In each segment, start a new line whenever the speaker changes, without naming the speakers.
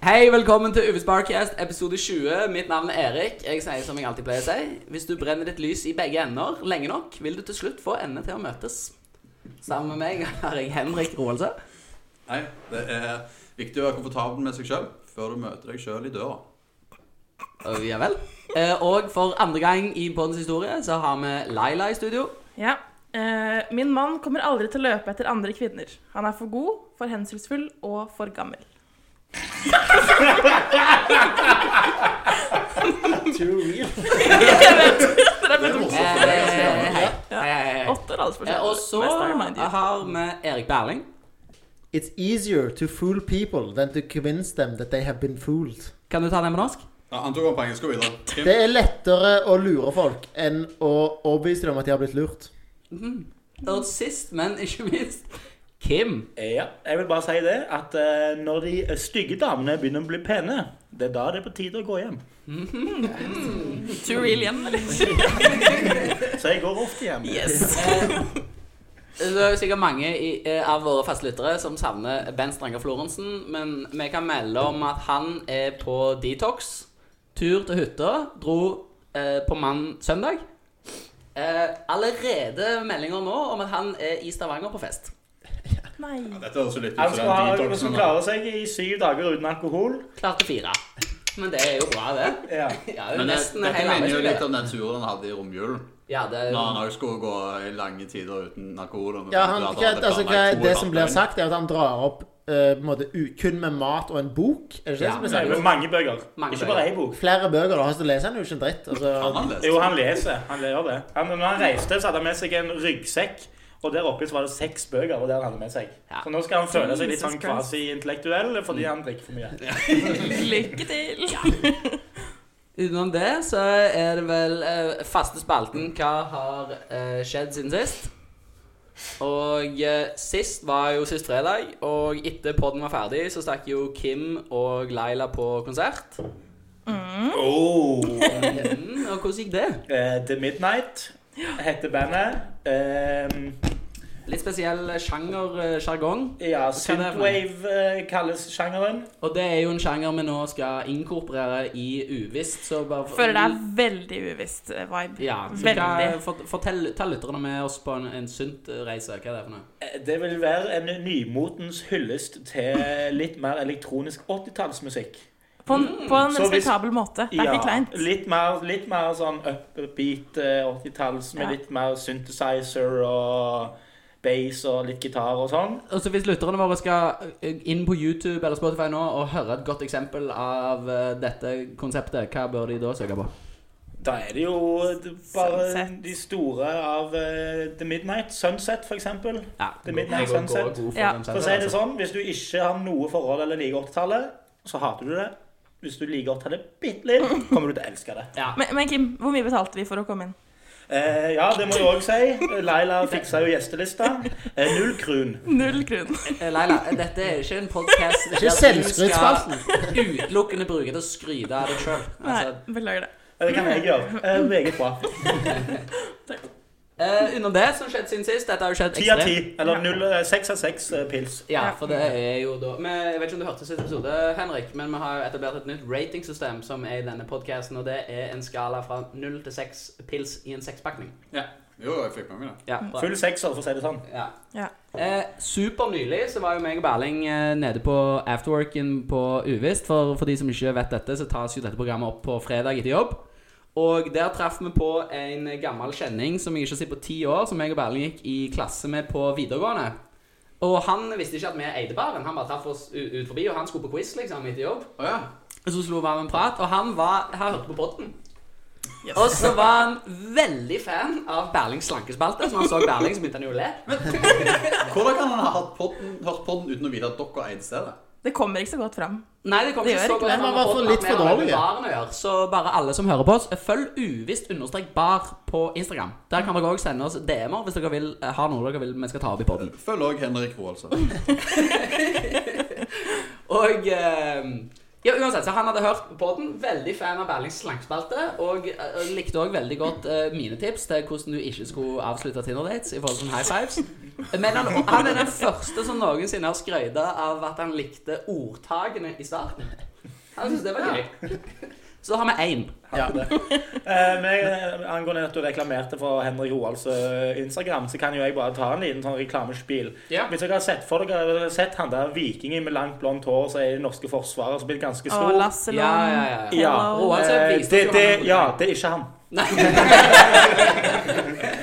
Hei, velkommen til Uves Barcast, episode 20. Mitt navn er Erik. Jeg sier som jeg alltid pleier å si. Hvis du brenner ditt lys i begge ender lenge nok, vil du til slutt få endene til å møtes. Sammen med meg har jeg Henrik Roaldse.
Nei, det er viktig å være komfortabel med seg sjøl før du møter deg sjøl i døra.
Og Ja vel. Eh, Og for andre gang i poddens historie så har vi Laila i studio.
Ja. eh, min mann kommer aldri til å løpe etter andre kvinner. Han er for god, for hensynsfull og for gammel. Jeg vet, dere er
Det
Eh,
er morsomt.
veldig morsomme.
Hei, hei, hei. hei.
Åtte år aldersforskjell.
Eh, Og så
Mest av reminder.
har vi Erik Berling.
It's easier to fool people than to convince them that they have been fooled.
Kan du ta den på norsk?
Ja, han tok opp på engelsk og videre.
Det
Kim,
er lettere å lure folk enn å overbevise dem om at de har blitt lurt.
Og sist, men ikke minst, Kim.
Ja, jeg vil bare si det, at eh, når de stygge damene begynner å bli pene, det er da det er på tide å gå hjem.
Too real igjen, eller?
Så jeg går ofte hjem.
Yes.
Det er jo sikkert mange i, eh, av våre fastlyttere som savner Ben Stranger Florensen, men vi kan melde om at han er på detox. Tur til hytta. Dro eh, på mann søndag. Eh, allerede meldinger nå om at han er i Stavanger på fest.
Nei.
Dette høres jo litt ut
Han
som
skal, ha,
den
han skal
detoxen. han-
klare seg i syv dager uten alkohol.
Klarte fire. Men det er jo bra, det.
Ja.
Ja, det er jo
Men det,
nesten
dette
hele
minner jo
arbeidslivet.
litt om den turen han hadde i romjulen.
Ja, det er
Når han også skulle gå i lange tider uten alkohol. og-
Ja, han,
at
hva,
hadde
altså, hva,
planlagt to
det som blir
etapper.
sagt, er at han drar opp eh, på en måte, u- kun med mat og en bok. Er det ikke det
Ja,
som blir
Nei,
sagt?
men mange bøker.
Mange
Ikke
bøker.
bare ei bok.
Flere bøker, da, så leser han jo ikke en dritt.
Kan
Altså,
han lese?
Jo, han leser. Han gjør det. Han, når han reiste, så hadde han med seg en ryggsekk. Og der oppe så var det seks bøker. og der han hadde med seg.
Ja.
Så nå skal han føle seg litt sånn
Jesus Christ.
kvasi-intellektuell fordi han drikker for mye.
Lykke til.
Utenom det så er det vel eh, faste spalten Hva har eh, skjedd siden sist? Og eh, sist var jo sist fredag, og etter podden var ferdig, så stakk jo Kim og Laila på konsert.
Oh.
Mm, og hvordan gikk det?
Eh, The Midnight heter bandet. Eh,
Litt spesiell sjanger, eh, sjargong.
Ja,
er det for noe?
synthwave eh, kalles sjangeren.
Og det er jo en sjanger vi nå skal inkorporere i uvisst, så bare
Føler det er veldig uvisst eh, vibe.
Ja. Så hva,
Veldig.
fort- fortell ta lytterne med oss på en, en synt-reise. Hva er det for noe?
Eh, Det vil være en nymotens hyllest til litt mer elektronisk 80-tallsmusikk.
På en,
Mm.
på en
Så hvis-
respektabel måte. Det er ikke kleint.
litt mer, litt mer sånn upbeat eh, 80-talls med
Ja.
litt mer synthesizer og bass og litt gitar og sånn.
Og så Altså, Hvis lytterne våre skal eh, inn på YouTube eller Spotify nå og høre et godt eksempel av eh, dette konseptet, hva bør de da søke på?
Da er det jo bare
Sunset.
de store av eh, The Midnight. Sunset, for eksempel.
Ja,
The Midnight
jeg går- går
Sunset.
god for
Ja.
dem selv,
For å si det
altså.
sånn, hvis du ikke har noe forhold eller liker 80-tallet, så hater du det. Hvis du liker 80-tallet bitte litt, kommer du til å elske det.
Ja.
Men, men Kim, hvor mye betalte vi for å komme inn?
Eh, ja, det må jeg òg si. Laila fiksa jo gjestelista. Eh, null krun.
Null kroner.
Eh, Leila, dette er ikke en podkast der
ikke selvskrytspalten.
utelukkende bruke til å skryte av deg sjøl.
Nei,
Altså,
beklager det.
Eh, Det kan jeg gjøre. Eh, Meget bra.
eh, Unna det som skjedde siden sist Dette har jo skjedd
Ti av
ekstremt.
ti. Eller null, eh, seks av seks eh, pils.
Ja, for det er jo da men Jeg vet ikke om du hørte siste episode, Henrik, men vi har jo etablert et nytt ratingsystem som er i denne podkasten, og det er en skala fra null til seks pils i en sekspakning.
Ja. Jo, jeg fikk med meg det.
Ja, bra.
Full sekser, for å si det sånn.
Ja.
Ja.
Eh, super nylig så var jo meg og Berling eh, nede på afterworken på Uvisst. For, for de som ikke vet dette, så tas jo dette programmet opp på fredag etter jobb. Og der traff vi på en gammel kjenning som jeg ikke har sett på ti år, som jeg og Berling gikk i klasse med på videregående. Og han visste ikke at vi eide baren. Han bare traff oss u- ut forbi, og han skulle på quiz liksom etter jobb.
Å ja.
Og så slo vi av en prat, og han var her hørte på podden. Og så var han veldig fan av Berlings slankespalte. Så når han så Berling, så begynte han jo å le.
Hvordan kan han ha hatt podden, hørt podden uten å vite at dere eide stedet?
Det kommer ikke så godt fram.
Nei, det kommer
Det
ikke
gjør
så
ikke
godt
det.
an
Man
om
var for
podden
litt
har
for
med
dårlige.
baren å gjøre, Så bare alle som hører på oss, følg uvisst understrek bar på Instagram. Der kan dere òg sende oss DM-er hvis dere vil, eh, har noe dere vil vi skal ta opp i poden.
Følg òg Henrik Roe, altså.
Og eh, ja, uansett, så Han hadde hørt på podden, veldig fan av Berlings slangspalte, og eh, likte òg veldig godt eh, mine tips til hvordan du ikke skulle avslutte Tinder-dates i forhold til high fives. Men han, han er den første som noensinne har skrøyta av at han likte ordtakene i starten. Han syntes det var gøy. Så har vi én.
Ja. Eh, men angående at du reklamerte for Henrik Roalds eh, Instagram, så kan jo jeg bare ta en liten sånn reklamespil.
Ja.
Hvis dere har sett for dere har dere sett han der vikingen med langt blondt hår som er i det norske forsvaret, som blir ganske
Og
stor
Ja,
Lasse
ja,
Long.
ja.
Ja.
Og han ser
Eh,
vist
det,
ut som
det,
han-
ja, det er ikke han.
Nei.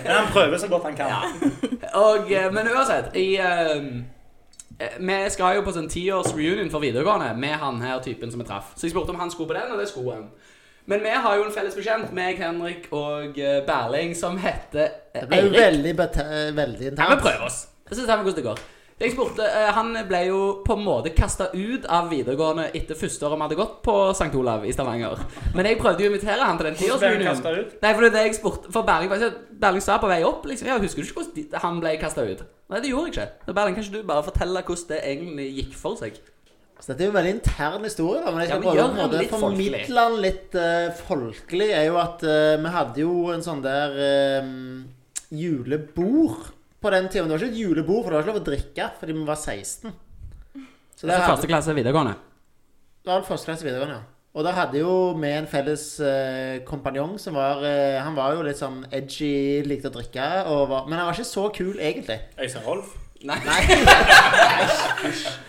Men han prøver så godt han kan.
Og, eh, men uansett i, ehm, eh, Vi skal jo på sånn 10-års reunion for videregående Med han her typen som vi traff Så jeg spurte om han skulle på den, og det skulle han Men vi har jo en felles bekjent Meg, Henrik og eh, Berling Som heter eh,
Det ble jo
Eirik
veldig, bete- veldig
Ja, vi
internt.
prøver oss Så ser vi hvordan det går jeg spurte, eh, han ble jo på en måte kastet ut av videregående etter første året vi hadde gått på St. Olav i Stavanger. Men jeg prøvde jo å invitere han til den
Hvordan ble han
10-årsreunionen.
kastet ut?
Nei, for det er det jeg spurte For Berling, var ikke- Berling sa på vei opp liksom, Ja, husker du ikke hvordan de- han ble kastet ut? Nei, det gjorde jeg ikke Så Berling, kan ikke du bare fortelle hvordan det egentlig gikk for seg?
Så dette er jo en veldig intern historie, da, men jeg
Ja,
skal
men
prøve
gjør
å på
den
en måte
litt folkelig.
formidle den litt eh, folkelig. er jo at eh, vi hadde jo en sånn der eh, julebord på den tiden. Men det var ikke et julebord, for det var ikke lov å drikke fordi vi var 16. Så der
Altså,
hadde,
første klasse videregående
det var første klasse videregående, ja. Og der hadde jo vi en felles eh, kompanjong som var eh, Han var jo litt sånn edgy, likte å drikke, og var, men han var ikke så kul, egentlig.
Øystein Rolf.
Nei,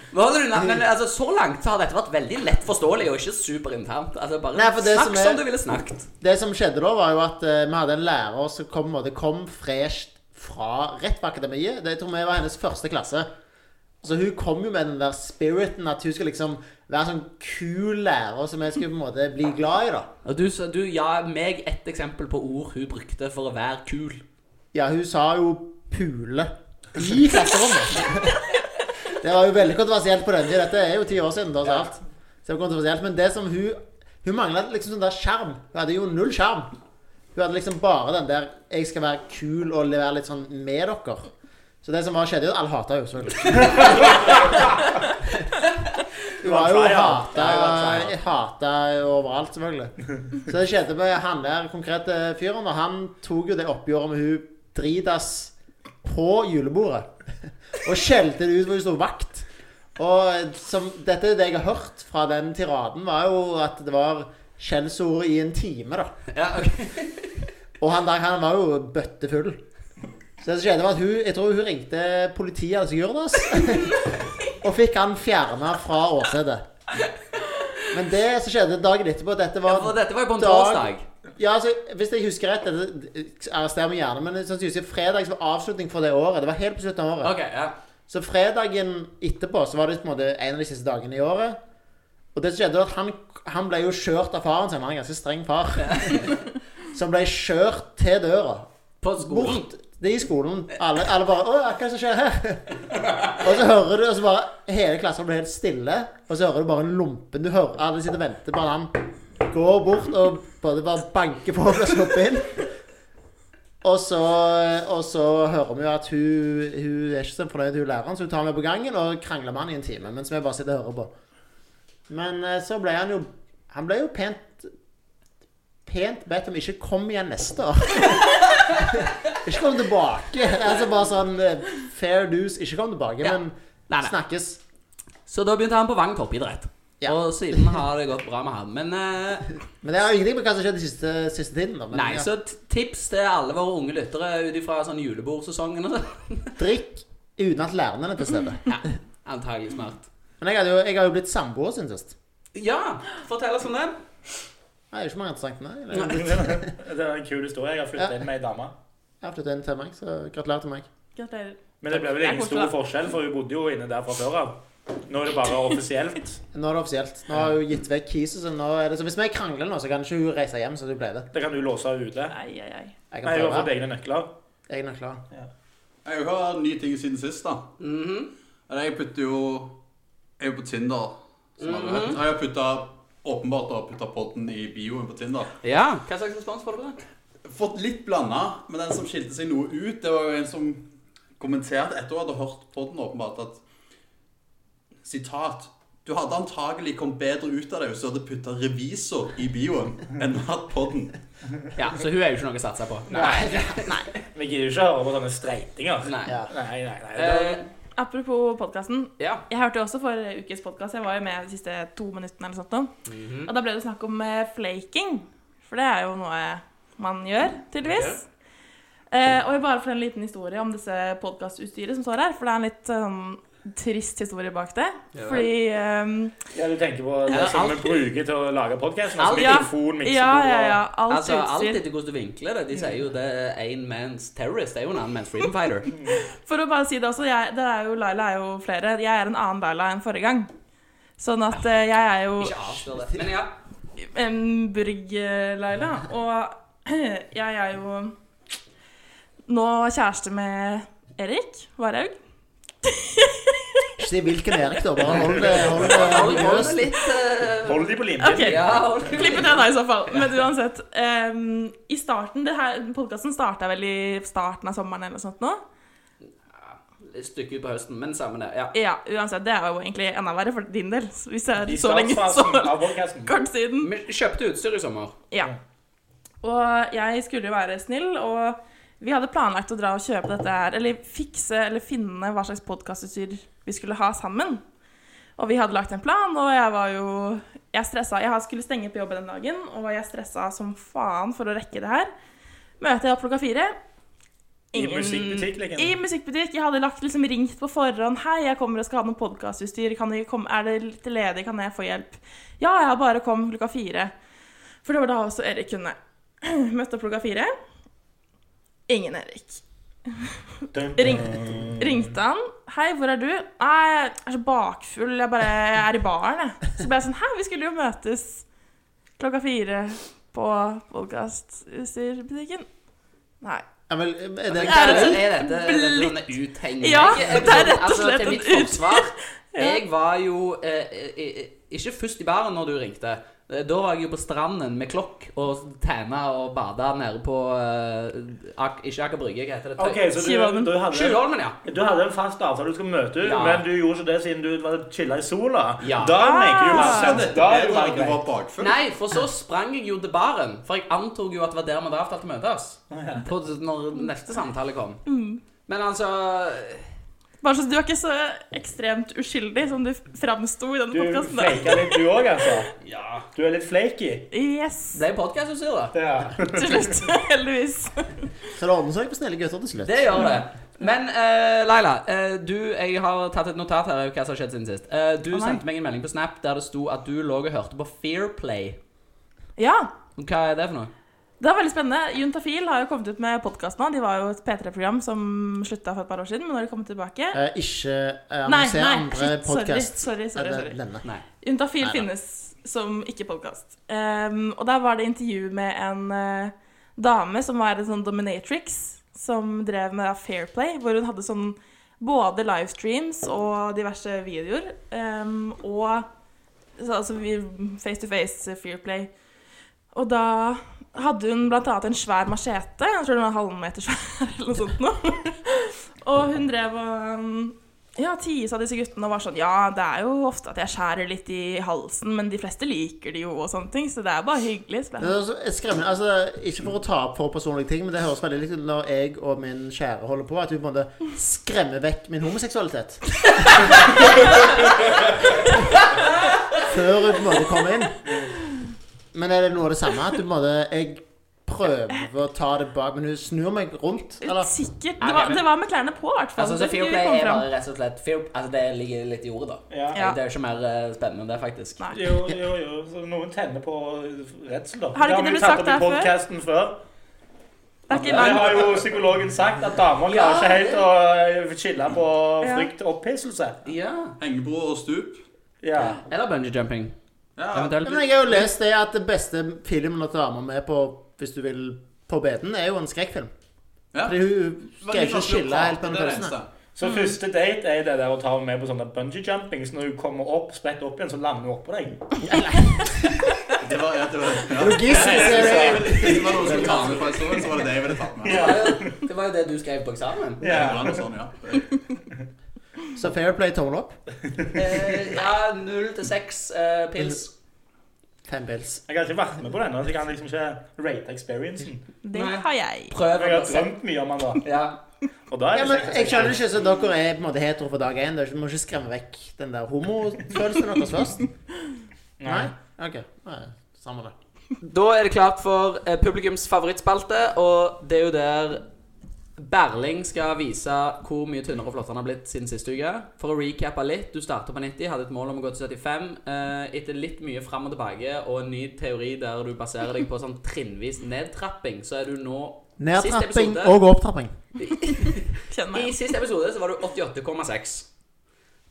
Hva holder du na- Men altså, så langt så har dette vært veldig lett forståelig Og ikke superinternt Altså, bare
Nei, for det
snakk
som
som,
er-
du ville snakket
Det som skjedde da, var jo at eh, vi hadde en lærer som kom, og det kom fresh fra rett fra akademiet. Det jeg tror jeg var hennes første klasse. Så hun kom jo med den der spiriten at hun skulle liksom være en sånn kul lærer som jeg skulle på en måte bli glad i, da.
Og du, sa- du ga meg et eksempel på ord hun brukte for å være kul
Ja, hun sa jo 'pule' i klasserommet. Det var jo veldig kontroversielt på den tida. Dette er jo ti år siden. Da, så alt. Så det var kontroversielt, Men det som hun Hun mangla liksom sånn der skjerm. Hun hadde jo null skjerm. Hun hadde liksom bare den der 'jeg skal være kul og være litt sånn med dere'. Så det som var skjedde, jo alle hata henne, selvfølgelig. Hun var
Hun
jo
var tryhard.
hata, hata overalt, selvfølgelig. Så det skjedde med han der konkrete fyren, og han tok jo det oppgjøret med hun Dridas på julebordet. Og skjelte det ut hvor hun sto vakt. Og som, dette er det jeg har hørt fra den tiraden, var jo at det var skjellsord i en time, da.
Ja, ok
Og han der han var jo bøttefull. Så det som skjedde var at hun, jeg tror hun ringte politiet altså Gjørdas, og fikk han fjerna fra åstedet. Men det som skjedde dagen etterpå Dette
ja,
var
for dette var jo på en
Dag-
torsdag
ja, altså, hvis jeg husker rett dette- Arrester meg gjerne, men sannsynligvis fredag som var avslutning for det året. Det var helt på slutten av året.
Ok, ja
Så fredagen etterpå så var det på en måte en av de siste dagene i året. Og det som skjedde, var at han, han ble jo kjørt av faren sin. Han er en ganske streng far. Som ble kjørt til døra.
På skolen
Bort. Det er i skolen. Alle, alle bare Å, hva er det som skjer her? og så hører du, og så bare Hele klassen blir helt stille, og så hører du bare en lompen du hører. Alle sitter og venter på at han går bort og både bare banker på og blir sluppet inn. Og så, og så hører vi jo at hun, hun er ikke så fornøyd, hun læreren, så hun tar med på gangen og krangler med han i en time. Mens vi bare sitter og hører på. Men eh, så ble han jo Han ble jo pent Pent bedt om ikke kom igjen neste år. Ikke kom tilbake. Altså bare sånn eh, fair dues, ikke kom tilbake,
Ja.
men
Nei, nei.
snakkes.
Så da begynte han på Vang toppidrett.
Ja.
Og siden har det gått bra med han. Men eh,
Men det har ingenting med hva som skjedde siste, siste tiden. Da, men,
nei,
ja.
så t- tips til alle våre unge lyttere ut ifra sånn julebordsesongen og sånn.
Drikk uten at læreren er til stede.
Ja, antagelig smart.
Men jeg, hadde jo, jeg har jo blitt samboer siden sist.
Ja, fortell oss om det.
Nei, Det er ikke mange interessante, nei. Det er jo
Nei.
blitt-
det er en kul historie. Jeg har flyttet
Ja.
inn med ei dame.
Jeg har flyttet inn til meg, så gratulerer til meg.
Gratulerer.
Men det ble vel
Det er
ingen
koselig,
stor
da.
forskjell, for hun bodde jo inne der fra før av. Nå er det bare offisielt.
Nå er det offisielt. Nå har jeg jo gitt vekk kisen, så nå er det så Hvis vi krangler nå, så kan ikke hun reise hjem, så du pleier det.
Det kan du låse av ute.
Ai, ai, ai.
Jeg
Nei,
kan
du har fått
prøve.
egne nøkler.
Jeg er nok klar.
Jeg har hørt nye ting siden sist, da.
Mhm.
Eller jeg putter jo Jeg er jo på Tinder, som alle vet.
Mhm.
Og jeg har putta åpenbart har putta podden i bioen på Tinder.
Ja, Hva slags respons får du på det?
Fått litt blanda, men den som skilte seg noe ut, det var jo en som kommenterte etter hun hadde hørt podden, åpenbart, at Sitat Du hadde antagelig kommet bedre ut av det hvis du hadde putta revisor i bioen enn du hadde podden.
Ja, Så hun er jo ikke noe å satse på.
Vi gidder jo ikke å høre på sånne streitinger.
Nei.
Ja.
Nei, nei, nei.
Eh,
Apropos podkasten.
ja.
Jeg hørte også forrige ukes podkast. Jeg var jo med de siste to minuttene. eller sånt nå.
Mhm.
Og da ble det snakk om eh, flaking. For det er jo noe man gjør, tydeligvis. Eh, og jeg bare får en liten historie om disse podkastutstyret som står her. For det er en litt eh, sånn trist historie bak det.
Ja vel.
Fordi eh,
Ja, du tenker på det som
alt-
vi bruker til å lage podkasten?
Alt-
Altså
ja. Ja,
mikrofon, miksebord
ja,
og-
ja. Alt
Altså, alt
utstyr.
etter hvordan du vinkler det. De sier jo det er én manns terrorist. Det er jo en annen manns freedom fighter.
For å bare si det også, jeg, det er jo, Laila er jo flere. Jeg er en annen Laila enn forrige gang. Sånn at eh, jeg er jo
Ikke avslør det. Men ja.
en Burg-Laila. Og jeg er jo nå kjæreste med Erik Varhaug.
Ikke si hvilken Erik, da. Bare hold det hold det
Hold hold det
religiøst.
litt eh,
Hold de på linjen.
Ok.
Ja, hold det
Klipp ut den da, i så fall. Men uansett. em, I starten det her, Podkasten starta vel i starten av sommeren eller noe sånt nå.
Et stykke ut på høsten, men samme det. Ja.
Ja, uansett. Det er jo egentlig enda verre for din del. Hvis det er
I
så lenge så
startfasen av podkasten.
kort siden.
Vi kjøpte utstyr i sommer.
Ja. Og jeg skulle jo være snill, og vi hadde planlagt å dra og kjøpe dette her, eller fikse eller finne hva slags podkastutstyr vi skulle ha sammen. Og vi hadde lagt en plan, og jeg var jo Jeg stressa. Jeg skulle stenge på jobb den dagen, og jeg stressa som faen for å rekke det her. Møter jeg opp klokka fire.
I musikkbutikk, liksom.
I musikkbutikk. Jeg hadde lagt, liksom, ringt på forhånd. 'Hei, jeg kommer og skal ha noe podkastutstyr. Er det litt ledig? Kan jeg få hjelp?' 'Ja, jeg bare kom klokka fire.' For det var da også Erik kunne. Møtte opp klokka fire. Ingen Erik. Ring, ringte han. 'Hei, hvor er du?' 'Nei, jeg er så bakfull. Jeg bare jeg er i baren, jeg.' Så ble jeg sånn 'Hæ, vi skulle jo møtes klokka fire på podkastutstyrbutikken.' Nei.
Ja, men, er det,
Hva er det
det
som er dette? Er dette
blitt-
sånn uthengning?
Ja, det er rett og slett
Altså, til
en
mitt forsvar. Jeg var jo eh, eh, ikke først i baren når du ringte. Eh, Da var jeg jo på stranden med klokk og tæna og bada nede på eh, Ak Ikke Aker Brygge, hva heter det?
Ok, så du,
Skivholmen.
du, hadde,
Skjølholmen, ja.
du hadde en fast avtale du skulle møte henne,
Ja.
men du gjorde ikke det siden du var chilla i sola.
Ja.
Da maker du
Så
sens.
dette
Ah. Da er
bedre enn
du
at du
bare
var bakfull.
Nei, for så sprang jeg jo til baren. For jeg antok jo at det var der vi hadde avtalt å møtes. På, når neste samtale kom. Men altså
Bare så du er ikke så ekstremt uskyldig som du framsto i denne
Du
podkasten.
flaker litt, du òg, altså.
Ja.
Du er litt flaky.
Yes,
Ble podkastutstyr, da.
Ja.
til slutt. Heldigvis.
så det ordner seg på snille gutter til slutt.
Det gjør det. Men eh, Laila, eh, du, jeg har tatt et notat her av hva som har skjedd siden sist. Eh, du
Å, nei.
sendte meg en melding på Snap der det sto at du lå og hørte på Fairplay.
Ja.
Hva er det for noe?
Det er veldig spennende. Juntafil har jo kommet ut med podkast nå. De var jo et P3-program som slutta for et par år siden, men nå har de kommet tilbake.
Eh, ikke eh,
Nei,
annonser
nei,
andre
shit, sorry,
podkast
sorry, sorry, sorry.
Denne.
Nei.
Juntafil
Nei, nei.
finnes som ikke podkast. Um, og der var det intervju med en eh, dame som var en sånn dominatrix, som drev med Fairplay, hvor hun hadde sånn både livestreams og diverse videoer. Um, og så, altså vi- face to face Fairplay. Og da hadde hun blant annet en svær machete, jeg tror den var en halvmeter svær eller noe sånt nå. Og hun drev og um, ja, Ties av disse guttene og var sånn Ja, det er jo ofte at jeg skjærer litt i halsen, men de fleste liker det jo, og sånne ting. Så det er bare hyggelig. Så ble
Det
jeg
er så skremmende, altså, Ikke for å ta opp for personlige ting, men det høres veldig likt ut når jeg og min kjære holder på, at hun på en måte skremmer vekk min homoseksualitet. Før hun på en måte kommer inn. Men er det noe av det samme? At du på en måte Jeg prøver å ta det bak, men hun snur meg rundt.
sånn,
Eller?
Sikkert. Det var, det var med klærne på, i hvert fall.
Altså, så
Det skulle vi
Fairplay
komme
er
fram.
bare rett og slett fair, altså, Det ligger litt i ordet, da.
Ja.
Ja.
Det er jo ikke mer eh, spennende enn det, faktisk.
Nei.
Jo, jo, jo. Så noen tenner på redsel, da.
Har ikke det
vi
blitt
tatt
sagt
opp i
her før?
podcasten før?
Det er ikke
Det
langt.
har jo psykologen sagt, at damer klarer
Ja,
ikke helt å eh, chille på
Ja.
frykt og opphisselse.
Ja.
Hengebro og stup.
Ja.
Eller bungee jumping.
Ja.
Ja,
Eventuelt.
Men jeg har jo lest det at det beste filmen å ta med på hvis du vil på beden, er jo en skrekkfilm.
Ja.
Fordi hun skal ikke skille helt mellom følelsene.
Mm.
Så første date er det der å ta henne med på sånne bungee jumping. Så når hun kommer opp, spretter opp igjen, så lander hun oppå deg.
Det var, ja, det var, ja.
Logistisk er det
Det var noe som ta med fra historien, så var det det jeg ville tatt med.
Det var jo- det var jo det du skrev på eksamen.
sånn,
Ja.
Det var noe sånn, ja.
Så Fair Play tommel opp.
Eh, ja, null til seks eh, pils.
Fem pils.
Jeg har ikke vært med på denne, så jeg kan liksom ikke rate experiencen.
Det
Nei.
har jeg.
Prøv.
Jeg har drømt mye om den da.
Ja.
Og da er
Ja,
det
men
seks av
Jeg
seks.
skjønner ikke så dere er på en måte hetero fra dag én. Dere må ikke skremme vekk den der homofølelsen deres først. Nei? OK. Nei, Samme det.
Da er det klart for eh, publikums favorittspalte, og det er jo der Berling skal vise hvor mye tynnere og flottere han har blitt siden siste uke. For å recappe litt. Du starta på 90, hadde et mål om å gå til 75. Eh, etter litt mye fram og tilbake og en ny teori der du baserer deg på sånn trinnvis nedtrapping, så er du nå
Nedtrapping
Siste episode.
og opptrapping.
Kjenn
I
meg.
siste episode så var du 88,6.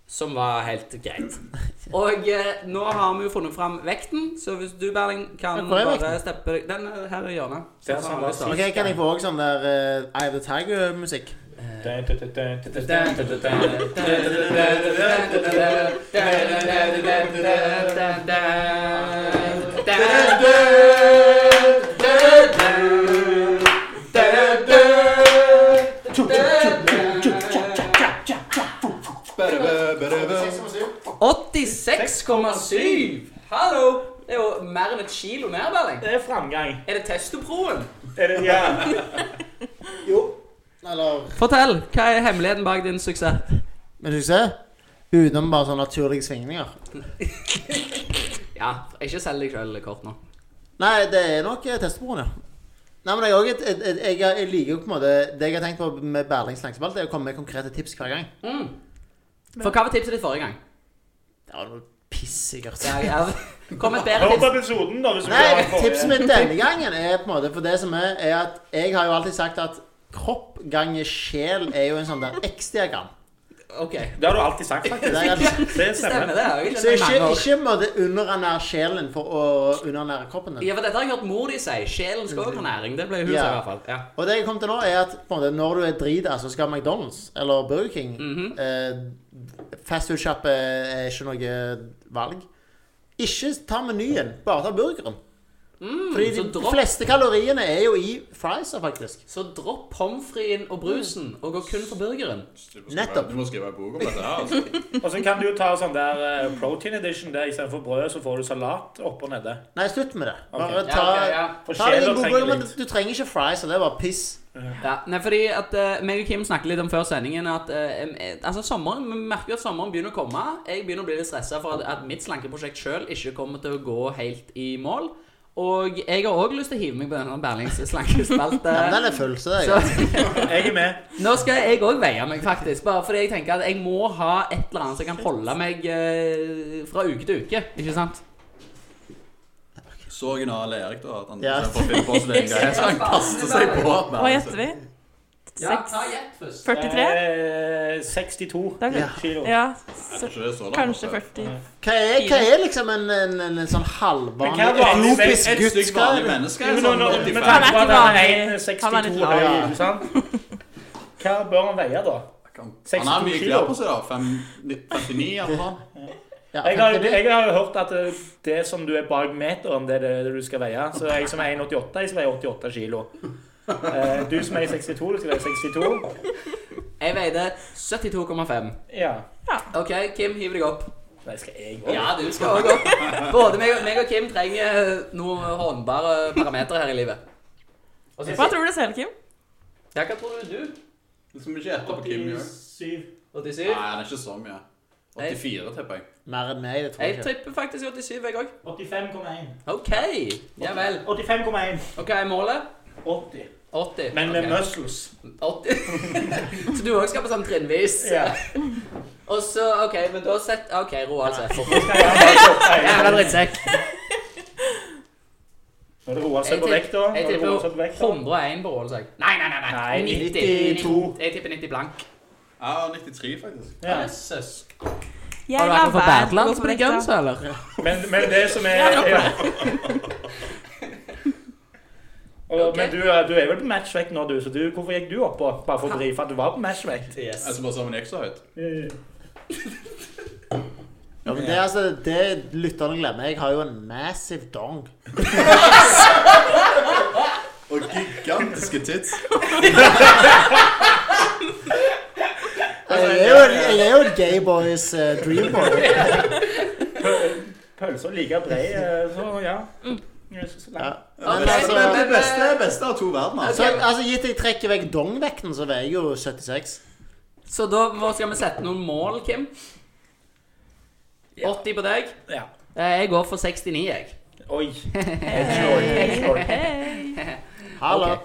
Som var helt greit. Og eh, nå har vi jo funnet fram vekten, så hvis du, Berling, kan
Ja, hvor er
bare
vekten?
steppe deg Den her i hjørnet.
Det er sånn det er.
Ok, Kan jeg få også sånn der eh, Eye of the Tiger-musikk?
sånn,
Hallo! Det er jo mer enn et kilo mer, Berling.
Det er framgang.
Er det testoproen?
Er det, ja.
Jo. Eller
Fortell, hva er hemmeligheten bak din suksess?
Men du ser, utenom bare sånne naturlige svingninger.
Ja, ikke selg deg sjøl kort nå.
Nei, det er nok eh, testbroren, ja. Nei, men jeg, er også et, et, et, jeg, jeg liker jo på en måte Det jeg har tenkt på med Berlings langspalt, er å komme med konkrete tips hver gang.
Mm. For hva var tipset ditt forrige gang?
Det var noe piss, sikkert.
Ja, ja. Kom et bedre
Hør på
tips.
episoden, da. Hvis du
Nei,
klarer å få det.
tipset mitt denne gangen er på en måte For det som er, er at jeg har jo alltid sagt at kropp ganger sjel er jo en sånn der X-diagram.
Ok,
Det har du alltid sagt,
Det
faktisk.
er alltid-
Det
stemmer
stemmer.
det. Jeg skjønte
Så ikke,
mange år.
ikke på en måte underernære sjelen for å underernære kroppen din.
Ja, for dette har jeg hørt mor di si. Sjelen skal også få næring. Det ble hun
Ja.
sa i hvert fall. Ja.
Og det jeg kom til nå, er at på en måte, når du er drita, så skal McDonald's eller Burger King
Mhm.
eh, Fastfood-sjappe er ikke noe valg. Ikke ta menyen, bare ta burgeren.
Mm,
Fordi
så,
de
dropp,
fleste kaloriene er jo i frieser, faktisk.
så dropp pommes fritesen og brusen, og gå kun for burgeren.
Nettopp.
Du må skrive en bok om dette her. altså.
Og så kan du jo ta sånn der eh, protein edition der istedenfor brød, så får du salat oppe og nede.
Nei, slutt med det. Bare
Ok.
Ja,
ta
ok, ja.
For
Ta deg en
sjela
god
trenger
burger, men
litt.
du trenger ikke fries, og det er bare piss.
Ja, nei, fordi at eh, meg og Kim snakket litt om før sendingen at eh, em, eh, altså sommeren, vi merker jo at sommeren begynner å komme. Jeg begynner å bli litt stressa for at, at mitt slankeprosjekt sjøl ikke kommer til å gå helt i mål. Og jeg har òg lyst til å hive meg på denne Berlings slankespalte.
Ja, men den er full, så det er
Så
greit.
Jeg er med.
nå skal jeg òg veie meg, faktisk. Bare fordi jeg tenker at jeg må ha et eller annet som kan holde meg eh, fra uke til uke. Ikke sant?
Så original er Erik, da. At han
Ja.
yes. får finne på seg det en gang. Så han kaster seg på. altså. men-
Hva gjetter vi?
Ja,
Seks-
ta gjett først.
43?
Eh, 62
Det er
Ja.
godt.
kilo.
Ja,
Jeg
så,
tror ikke det er så langt, altså.
kanskje 40.
Hva er, hva er liksom en, en, en, en sånn
Men hva er vanlig-
halvvanlig etiopisk
Et
gutt
stygt vanlig
skal
menneske
Men
er
nå-
sånn
nå- men
85.
Han
tenk
er
på at
ikke
han
vanlig.
er
Han er
62
litt
høy,
lav.
ikke sant? Hva bør han veie, da?
Han har
62
mye klær på seg, da. Fem- 59, iallfall.
Ja,
Jeg har,
det-
jeg har jo hørt at eh, det som du er bak meteren, det er det du skal veie. Så jeg som er 1,88, jeg skal veie 88 kilo. Eh, Du som er 62, du skal veie 62.
Jeg veide 72,5.
Ja.
OK, Kim, hiv deg opp.
Nei, skal jeg òg?
Ja, du skal også opp. Både meg og, meg og Kim trenger eh, noen håndbare parametere her i livet. Og så-
Hva tror du selv, Kim?
Ja, hva tror du? du?
Det skal vi ikke gjette på Kim gjør.
87.
87?
Nei, han er ikke så mye. 84, tipper jeg.
Mer enn meg, det tror
Jeg
jeg ikke.
tripper faktisk 87, jeg òg.
85,1.
OK. Ja vel.
85,1.
OK, målet?
80.
80.
Men med
Ok.
muscles.
80. Så du òg skal på sånn trinnvis?
Ja.
Og så OK, men da sett OK, altså. Roald Sæffer.
Nå skal jeg ha bare kjøpt eier.
Jævla drittsekk.
Nå er det Roald som er på
Jeg
vekta. Nå
Jeg
er det Roald
tipper
som er på vekta.
101 på Roald Sæffer. Nei, nei, nei. nei.
Nei,
92. Jeg tipper 90 blank.
Ja, 93, faktisk.
Ja.
Jesus.
Jeg
Har du vært med på
lar være å
Badlands
gå
på de
vekta.
gunsa, eller?
Men, men det som er
Ja,
ja. Og,
Ok.
Men du, er- du er vel på matchvekt nå, du, så du, hvorfor gikk du opp på? Bare for å drive at du var på matchvekt? Eh,
Jeg som bare sa han gikk så høyt.
Ja, men det, er altså, det lytterne glemmer, jeg har jo en massive dong.
Og gigantiske tits.
Jeg Altså, Jeg er jo, jeg er jo en gay boys eh, dream boy.
eh, Pølser like brei, eh, så ja. Jeg synes det er
Ja.
langt.
Ja,
Men
det,
altså-
det, det, beste, det beste av to verdener.
Så, altså, gitt jeg trekker vekk dongvekten, så veier jeg jo 76.
Så da må- skal vi sette noen mål, Kim.
Ja.
80 på deg.
Ja.
Eh, Jeg går for 69, jeg.
Oi. Edgelord.
Hei.
Hallo.
Ok.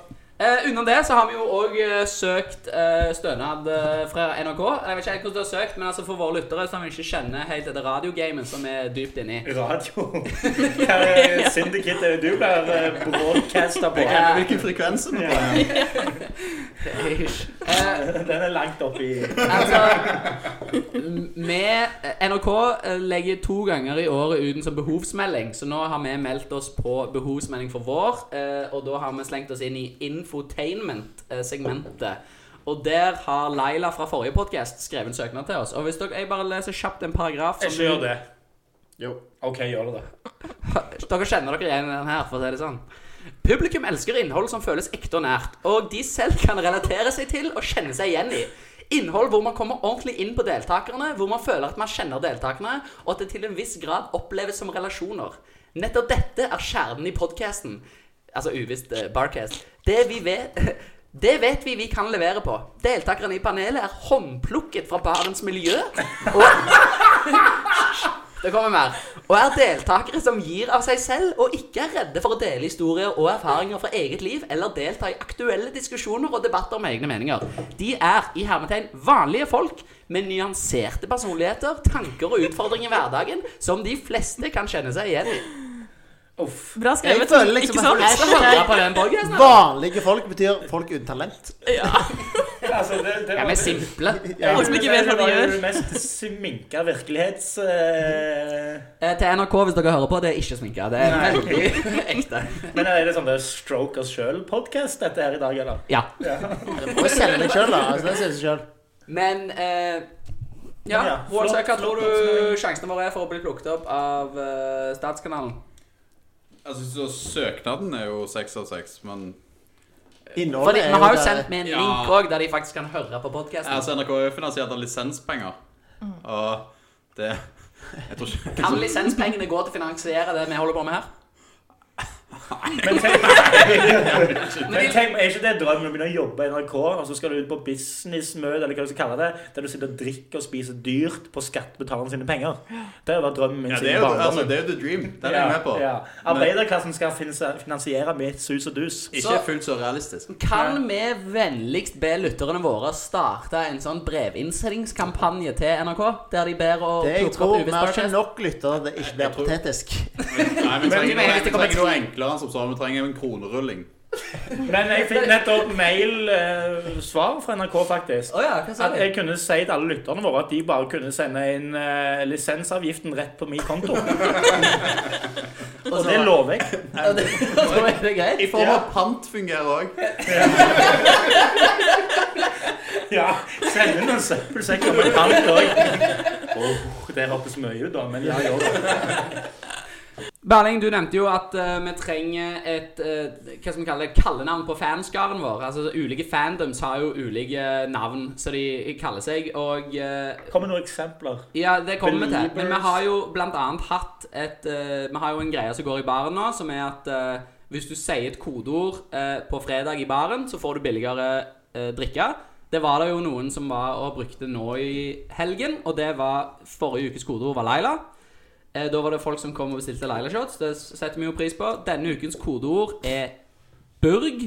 Eh, Unna det så har vi jo òg eh, søkt eh, stønad eh, fra NRK. Jeg vet ikke helt hvordan du har søkt, men altså for våre lyttere som ikke kjenner helt dette radiogamet som vi er dypt inne i.
Radio. Hva er Syndicate er det du blir eh, broadcasta på?
Jeg glemmer hvilken frekvens det er.
Eh,
Den er langt oppi
altså med NRK eh, legger to ganger i året ut en sånn behovsmelding, så nå har vi meldt oss på behovsmelding for vår, eh, og da har vi slengt oss inn i infotainment-segmentet. Og der har Laila fra forrige podkast skrevet en søknad til oss. Og hvis dere, Jeg bare leser kjapt en paragraf som
Ikke gjør det.
Jo.
OK, gjør det, da.
Dere kjenner dere igjen i den her, for å si det sånn. Publikum elsker innhold som føles ekte og nært, og de selv kan relatere seg til og kjenne seg igjen i. Innhold hvor man kommer ordentlig inn på deltakerne, hvor man føler at man kjenner deltakerne, og at det til en viss grad oppleves som relasjoner. Nettopp dette er kjernen i podcasten. Altså uvisst eh, Barcast. Det vi vet Det vet vi vi kan levere på. Deltakerne i panelet er håndplukket fra barens miljø. Og det kommer mer. Og er deltakere som gir av seg selv, og ikke er redde for å dele historier og erfaringer fra eget liv, eller delta i aktuelle diskusjoner og debatter om egne meninger. De er, i hermetegn, vanlige folk med nyanserte personligheter, tanker og utfordringer i hverdagen som de fleste kan kjenne seg igjen i.
Uff.
Bra skrevet.
Jeg føler liksom
ikke
at
sant?
folk-
Jeg hører på den podcasten, eller?
Vanlige folk betyr folk uten talent.
Altså, det, det
Ja, vi er simple.
Ja.
Folk som ikke vet hva de
Det var
gjør.
jo det mest sminka virkelighets... eh,
Eh, Til NRK, hvis dere hører på, det er ikke sminka. Det er
Nei.
veldig ekte.
Men er det sånn det er stroke oss sjøl-podkast dette her i dag, eller?
Ja.
Du må jo selge deg sjøl, da. Altså, det sier seg selv.
Men eh, Ja,
Ja,
Roald, hva
flott, flott
tror du
oppsummering.
sjansene våre er for å bli plukket opp av eh, Statskanalen?
Jeg synes jo Søknaden er jo seks av seks, men
Fordi
Innholdet er
Vi har jo
der-
sendt med en
Ja.
link òg, der de faktisk kan høre på podkasten.
altså, NRK er jo finansiert av lisenspenger.
Mm.
Og det Jeg tror ikke
Kan lisenspengene gå til å finansiere det vi holder på med her?
Men tenk, men
Men de,
tenk, er ikke det drømmen å begynne å jobbe i NRK, og så skal du ut på businessmøte, eller hva du skal kalle det, der du sitter og drikker og spiser dyrt på skattebetalerne sine penger? Det har vært drømmen min
ja, det, er
siden
jo, altså,
barndommen.
det er jo the dream. Den er jeg med på.
Ja, ja. Arbeiderklassen skal finse- finansiere mitt sus og dus.
Ikke fullt så realistisk.
kan vi vennligst be lytterne våre starte en sånn brevinnsendingskampanje til NRK? Der de ber å
Det jeg
plukke
tror
opp
Vi
Uvis
har ikke
podcast?
nok lyttere at det ikke blir
Jeg tror-
patetisk.
Nei, Vi
mener
trenger
at
noe,
det
vi
kommer
trenger noe enklere enn som sånn. Vi trenger en kronerulling.
Men jeg fikk nettopp mail-svar fra NRK, faktisk.
Å ja, hva sa
At
du?
jeg kunne si til alle lytterne våre at de bare kunne sende inn eh, lisensavgiften rett på min konto. Og det lover jeg.
Ja, det- Så er det greit?
I form av pant fungerer òg.
Ja, Send inn en søppelsekk om en pant òg. Oh, det hørtes mye ut, da, men ja, gjør det.
Berling, du nevnte jo at eh, vi trenger et eh, hva skal vi kalle det, kallenavn på fanskaren vår. Altså Ulike fandoms har jo ulike eh, navn som de kaller seg. Og eh,
Kom med noen eksempler.
ja, det kommer vi til. Men vi
Believers.
har jo blant annet hatt et eh, Vi har jo en greie som går i baren nå, som er at eh, hvis du sier et kodeord eh, på fredag i baren, så får du billigere eh, drikke. Det var det jo noen som var og brukte nå i helgen, og det var forrige ukes kodeord var Laila. Eh, da var det folk som kom og bestilte Laila shots. Det setter vi jo pris på. Denne ukens kodeord er burg.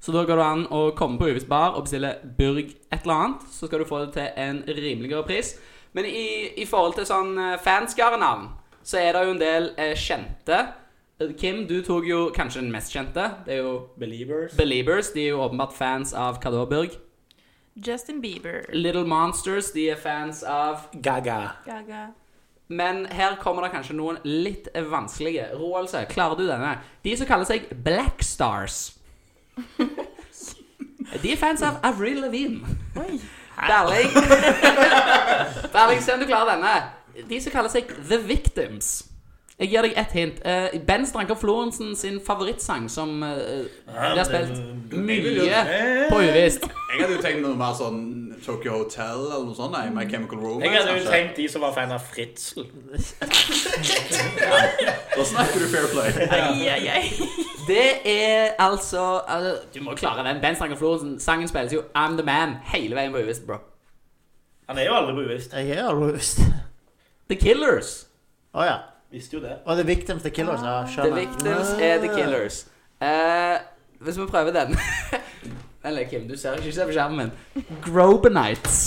Så da går det an å komme på Uvis bar og bestille burg et eller annet, så skal du få det til en rimeligere pris. Men i, i forhold til sånn eh, fanskare-navn, så er det jo en del eh, kjente. Eh, Kim, du tok jo kanskje den mest kjente. Det er jo
Believers.
Beliebers. De er jo åpenbart fans av Cador Burg.
Justin Bieber.
Little Monsters. De er fans av
Gaga.
Gaga.
Men her kommer det kanskje noen litt vanskelige. Roald, så klarer du denne? De som kaller seg Black Stars. De er fans av Avril Lavigne.
Oi.
Berling, Berling, se om du klarer denne. De som kaller seg The Victims. Jeg gir deg ett hint. Eh, ben Stranker Florensen sin favorittsang som eh, blir spilt mye på uvisst.
Jeg hadde jo tenkt noe mer sånn Tokyo Hotel eller noe sånt? Nei,
Mm.
My Chemical Romance.
Jeg hadde jo
kanskje.
tenkt de som var fan av Fritzel.
Da snakker du fair play.
Ai, ai, ai.
Det er altså, altså Du må klare den. Ben Stanger Florensen. Sangen spilles jo I'm The Man hele veien på Uvisst, bro.
Han er jo aldri bevisst.
Jeg er roast.
The Killers.
Å ja.
Visste jo det.
Og The Victims, The Killers. Ja,
The
skjønner.
Victims er
Ah.
The Killers. Eh, hvis vi prøver den Eller Kim, du ser ikke se på skjermen. Grobenites.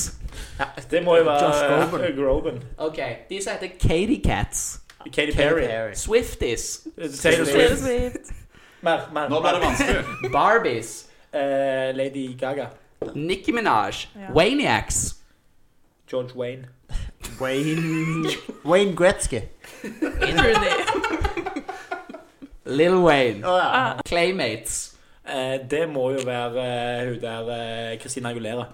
Det må jo være
Josh Groban.
eh, Groban.
Ok, De som heter Katy Cats.
Katy Perry.
Swifties.
Taylor
Taylor
Swift.
Swift.
Mer, mer.
Nå ble det vanskelig.
Barbies.
Eh, Lady Gaga.
Nicki Minaj.
Ja.
Waniacs.
George Wayne.
Ah. Wayne, Wayne Gretzky.
Trudy.
Lil Wayne.
Å ja.
Claymates.
Eh, det må jo være eh, hun der eh, Christina Agulera.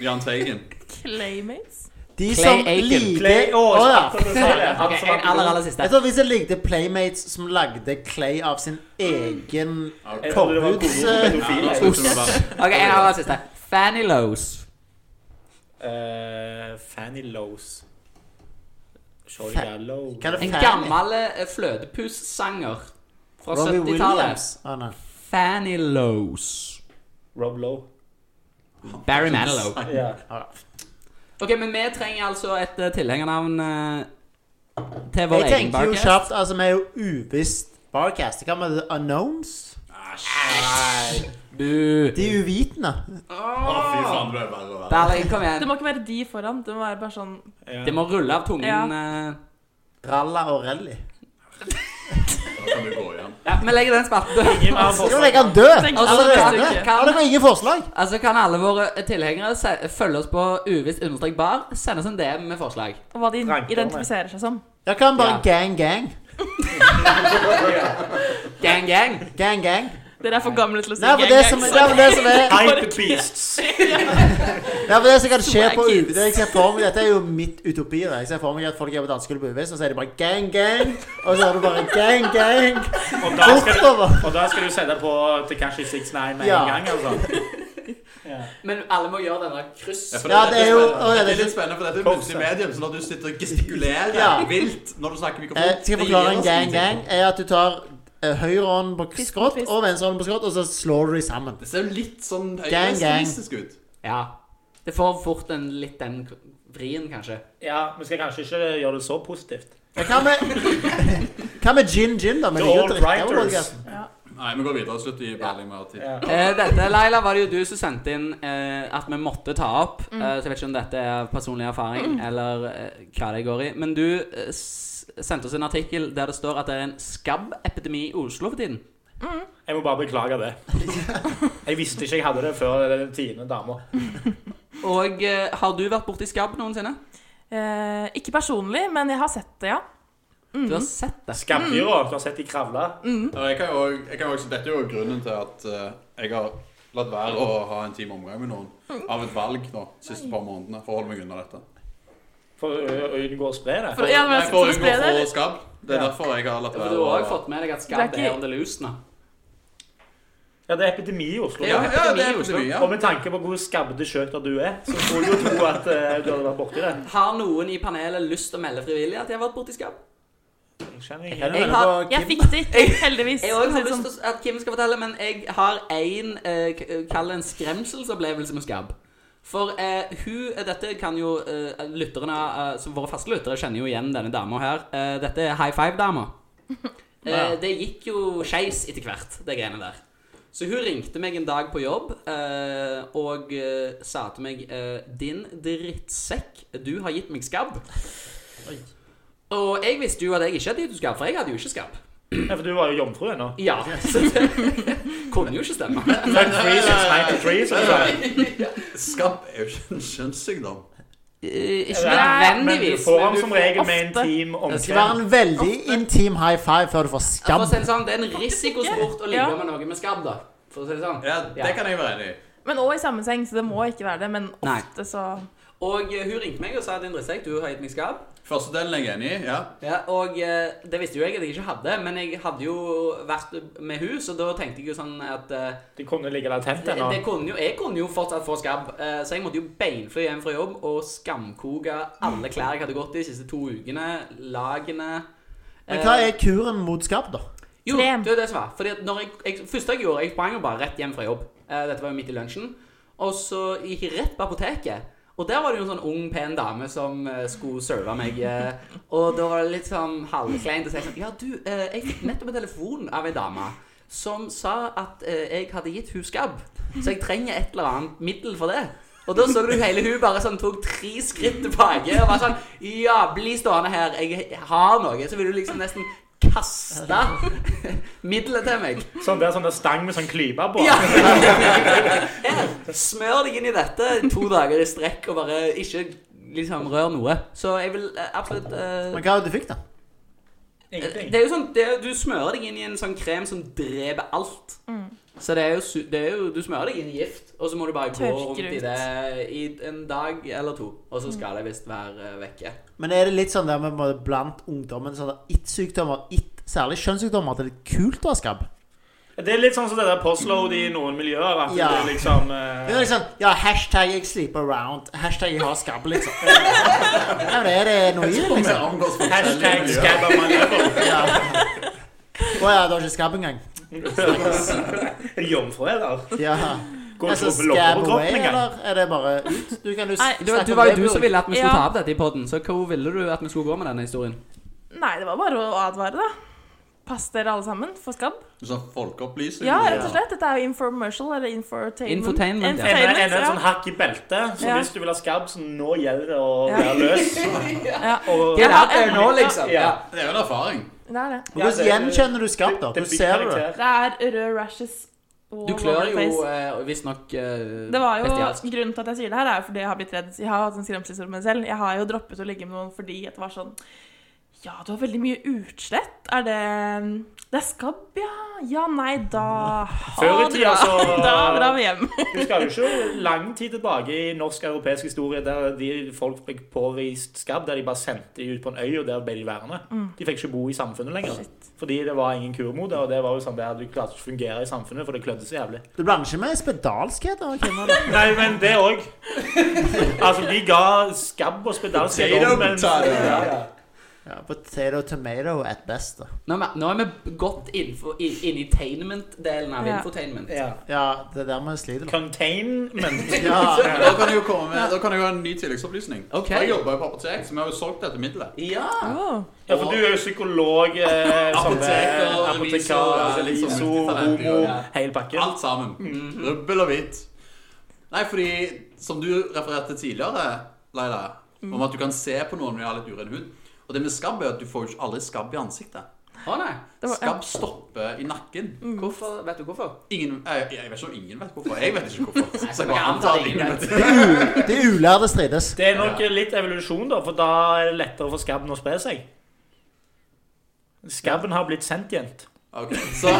Jahn Teigen.
Claymates.
De
Clay
som
Aiken.
Clay
liker Å
Å,
ja.
sant, det sa jeg.
Ok, en aller, aller
Jeg
siste.
tror hvis jeg likte Playmates som lagde Clay av sin egen
Jeg trodde det var
Forhuds,
gode
eh,
Ja,
pedofile.
nå slutter vi bare.
Ok, en aller siste. Fanny Lows.
Eh, Fanny Lowe's. Shorty
Fa-
Gallo.
Hva er det
En
Fanny?
gammel eh, flødepussanger fra
Robbie
70-tallet.
Williams. Å, nei.
Fanny Lows.
Rob Lowe.
Barry Manilow.
Ja.
Ok, men vi trenger altså et eh, tilhengernavn eh, til vår
Jeg
egen
tenker jo
barcast.
kjapt Altså, vi er jo uvisst barcast. Hva med The Unknowns?
Bu.
De uvitende.
Å, fy faen, det ble verre og verre.
Berling, kom
Det
igjen.
må ikke være de foran. Det må være bare sånn
Ja.
Det må rulle av tungen.
Ja.
eh.
Ralla og Rally.
Da kan du gå igjen.
Ja, vi legger den spalten død.
Ingen mer
Jo,
forslag.
jeg kan dø!
Tenk
Altså,
på det
kan-
neste uke.
Ja, det var ingen forslag.
Altså kan alle våre tilhengere se- følge oss på uvisst understrek bar. Send oss en DM med forslag.
Og hva de
Ranker,
identifiserer seg som.
Jeg kan bare
Ja.
gang, gang.
Gang, gang.
Gang, gang.
Dere er for gamle til å si
Nei, for det som, det er for det som er
Hype the Beasts.
Ja, for det som kan skje
Swag
på
kids.
UV det jeg ser for meg, Dette er jo mitt utopi. da. Jeg ser for meg at folk er på dansegulvet på UV, så sier de bare gang, gang. Og så er det bare gang, gang.
Og da skal du,
Bortover.
og da skal du sette på Tekashi 69 med
Ja.
en gang, altså. Ja.
Men alle må gjøre denne kryss.
Ja, for
Ja, det er jo
spennende.
å, ja,
Det
det
er
er
litt spennende, for dette er plutselig medium, sånn at du sitter og gestikulerer
Ja.
vilt når du snakker i
Eh,
mikrofon.
skal jeg
Det
forklare
gir
en
oss
gang, gang?
ingenting.
Er at du tar eh, høyre hånd på
Fist mot
skrått
fist.
og venstre hånd på skrått, og så slår du dem sammen.
Det ser jo litt sånn
gang.
øyestilistisk ut.
Ja. Det får fort en litt den k- vrien, kanskje.
ja, vi skal kanskje ikke gjøre det så positivt.
Men Hva med, hva med gin, gin, da? Men
The
det er jo
All
drikke på
Writers.
podcasten.
Nei, vi går videre. Slutt å gi Berling mer tid.
Ja.
Eh, dette, Leila, var det jo du som sendte inn eh, at vi måtte ta opp.
Mm.
Eh, så jeg vet ikke om dette er personlig erfaring, eller eh, hva det går i. Men du eh, s sendte oss en artikkel der det står at det er en skabbepidemi i Oslo for tiden.
Jeg må bare beklage det. Jeg visste ikke jeg hadde det før den tiende dama.
Og eh, har du vært borti skabb noensinne?
Eh, ikke personlig, men jeg har sett det, ja.
Du
Mhm.
har sett det.
Skabbyra, du har sett de kravle.
Ja, Jeg kan jo også- jeg kan jo også, dette er jo grunnen til at eh, jeg har latt være å ha en time omgang med noen av et valg nå, siste par månedene, for å holde meg unna dette.
For å å unngå å spre det.
For, ja, men,
Nei, for å
for å spre
unngå
det,
å få
eller?
skabb. Det er
Ja.
derfor jeg har latt
Ja, For
være
du har òg
å
fått med deg at
Det
skabb
er
er
ikke-
under lusen. da.
Ja, det er epidemi i Oslo.
Ja,
Ja, det er
Epidemi i Oslo.
epidemi, ja.
Og med tanke på hvor skabbete skjøter du er, så skulle du jo tro at eh, du hadde vært borti det.
Har noen i panelet lyst til å melde frivillig at de har vært borti skabb?
Jeg kjenner
Kan
ikke
du
Jeg
melde
har-
på
Jeg
Kim?
fikk det ikke, heldigvis.
Jeg
for å
også
si
har
det
lyst
sånn.
til at Kim skal fortelle, men jeg har en eh, k- Kall det en skremselsopplevelse med skabb. For eh, hun Dette kan jo eh, lytterne eh, som Våre faste lyttere kjenner jo igjen denne dama her. Eh, dette er high five-dama. Eh, det gikk jo skeis etter hvert, det greiene der. Så hun ringte meg en dag på jobb eh, og eh, sa til meg eh, Din drittsekk, du har gitt meg skabb. Og jeg visste jo at jeg ikke hadde gitt henne skabb, for jeg hadde jo ikke skabb.
Ja, for du var jo jomfru ennå.
Ja, så det kunne jo ikke stemme.
Fuck free since 93, som du sa.
få Skabb er jo ikke en kjønnssykdom.
Eh, Ikke
Men du
nødvendigvis.
får
men
ham
du
som
får-
regel med en
ofte-
team
Det skal være
omkring.
en veldig intim high five før du
For
får
å
skam.
si det sånn, det er en risikosport å ligge
Ja.
med noe med skabb, da. For å si det sånn.
Ja, det kan jeg være enig i.
Men òg i sammenseng, så det må ikke være det. Men
Nei.
ofte så
Og eh, hun ringte meg og sa at det er en drittsekk, du har gitt meg skap.
Første delen er jeg enig i. ja.
Ja, og eh, det visste jo jeg at jeg ikke hadde, men jeg hadde jo vært med hun, så da tenkte jeg jo sånn at eh,
De kunne ligge latent
det,
ennå.
det kunne jo, Jeg kunne jo fortsatt få skabb, eh, så jeg måtte jo beinfly hjem fra jobb og skamkoke alle klær jeg hadde gått i de siste to ukene. Lagene.
Men hva er kuren mot skabb, da?
Jo,
Krem.
det er det som var. Fordi at når jeg, jeg, første jeg gjorde, jeg sprang jo bare rett hjem fra jobb. Eh, dette var jo midt i lunsjen. Og så gikk jeg rett på apoteket. Og der var det jo en sånn ung, pen dame som eh, skulle serve meg. eh, og da var det litt sånn halvkleint å si sånn Ja, du, eh, jeg fikk nettopp en telefon av ei dame som sa at eh, jeg hadde gitt hun skabb. Så jeg trenger et eller annet middel for det. Og da så du hele hun bare sånn tok tre skritt tilbake og var sånn Ja, bli stående her, jeg har noe. Så vil du liksom nesten kaste middelet til meg.
Sånn der, sånn der stang med sånn klype på.
Ja. Her, smør deg inn i dette to dager i strekk og bare ikke liksom rør noe. Så jeg vil eh, absolutt eh,
Men hva var det du fikk, da?
Ingenting.
Det er jo sånn det, er- Du smører deg inn i en sånn krem som dreper alt.
Mm.
Så det er, jo, su- det er jo Du smører deg inn i gift, og så må du bare gå
Tørker
rundt i
ut.
det i en dag eller to. Og så skal det visst være eh, vekke.
Men er det litt sånn der med på en måte blant ungdommen sånn der It-sykdommer, it, særlig kjønnssykdommer, at det er litt kult å ha skabb?
Det er litt sånn som det der postload i noen miljøer. At
Ja.
det er liksom
Det er
eh,
liksom Ja, hashtag 'jeg sleeper around', hashtag 'jeg har skabb', liksom. Ja, men er det noe i det,
Vi
liksom?
omgås forskjellige
Hashtag
miljøer.
scabba my level.
Ja. Å ja, du har ikke skabb engang?
Er det Jomfru, eller?
Ja.
Går
Altså,
og tror på lopper
skabb
på
away,
kroppen engang?
eller er det bare ut? Du kan jo
Nei,
Du,
snakke
du
om
var
det,
jo du
Bjørg.
som ville at vi skulle
Ja.
ta opp dette i poden, så hvor ville du at vi skulle gå med denne historien?
Nei, det var bare å advare, da. Pass dere alle sammen for skabb.
Sånn folkeopplysning.
Ja, rett og slett. Dette er jo infomercial, eller infotainment.
Infotainment, ja.
Enda
Infotainment,
enda et sånn hakk i beltet. Så
Ja.
hvis du vil ha skabb, så nå gjelder det å
Ja.
være løs.
ja.
Og
Ja, det er
ja,
nå,
ja.
liksom. Ja.
Det er jo en erfaring.
Det er det.
Men Hvordan gjenkjenner du skabb, da? Hvordan ser du det?
Det er røde rashes all
Du klør
over the
jo
face.
eh, visstnok eh,
Det var jo,
bestialsk.
Grunnen til at jeg sier det her, er jo fordi jeg har blitt redd. Jeg har hatt en skremselsord med meg selv. Jeg har jo droppet å ligge med noen fordi at det var sånn Ja, du har veldig mye utslett. Er det Det er skabb, ja. Ja, nei, da Ha
Før i
det
tida
bra.
så-
Da drar vi hjem.
Du skal jo ikke lang tid tilbake i norsk og europeisk historie der de folk ble påvist skabb, der de bare sendte de ut på en øy, og der ble de værende. De fikk ikke bo i samfunnet lenger. Fordi det var ingen kur mot det, og det var jo sånn der du klarte ikke å fungere i samfunnet, for det klødde så jævlig.
Du blander ikke med spedalskhet? da, kvinner, da?
Nei, men det òg. Altså, de ga skabb og spedalsk
Potato, potato.
ja, ja.
Ja, potato tomato at best, da.
Nå, er vi- nå er vi godt innenfor- inn- inne i tainment-delen av
Ja.
infotainment.
Ja.
Ja, det er der vi sliter. da.
Containment.
Ja.
Da kan jeg jo komme med Da kan jeg jo ha en ny tilleggsopplysning.
Ok.
Jeg jobber jo på apotek, så vi har jo solgt dette middelet.
Ja!
Ja, for du er jo psykolog, eh, sånn, eh,
Apoteker,
apotekar,
revisor, liksom,
revisor,
multitalent,
homo,
ja.
hele pakken.
Alt sammen. Rubbel og hvitt. Nei, fordi som du refererte tidligere, Leila, om at du kan se på noen når de har litt uren hud. Og det med skabb er at du får jo ikke aldri skabb i ansiktet.
Å nei.
Det var-
Skabb stopper i
Mm.
nakken.
Mm.
Hvorfor, vet du hvorfor?
Ingen, eh, jeg, jeg vet ikke om ingen vet hvorfor. Jeg vet ikke hvorfor. Så jeg
Jeg
bare
antar
antar
det
at
ingen
ingen
vet.
vet.
De ulærde strides.
Det er nok litt evolusjon, da, for da er det lettere for skabben å spre seg. Skabben har blitt sentient.
Ok, så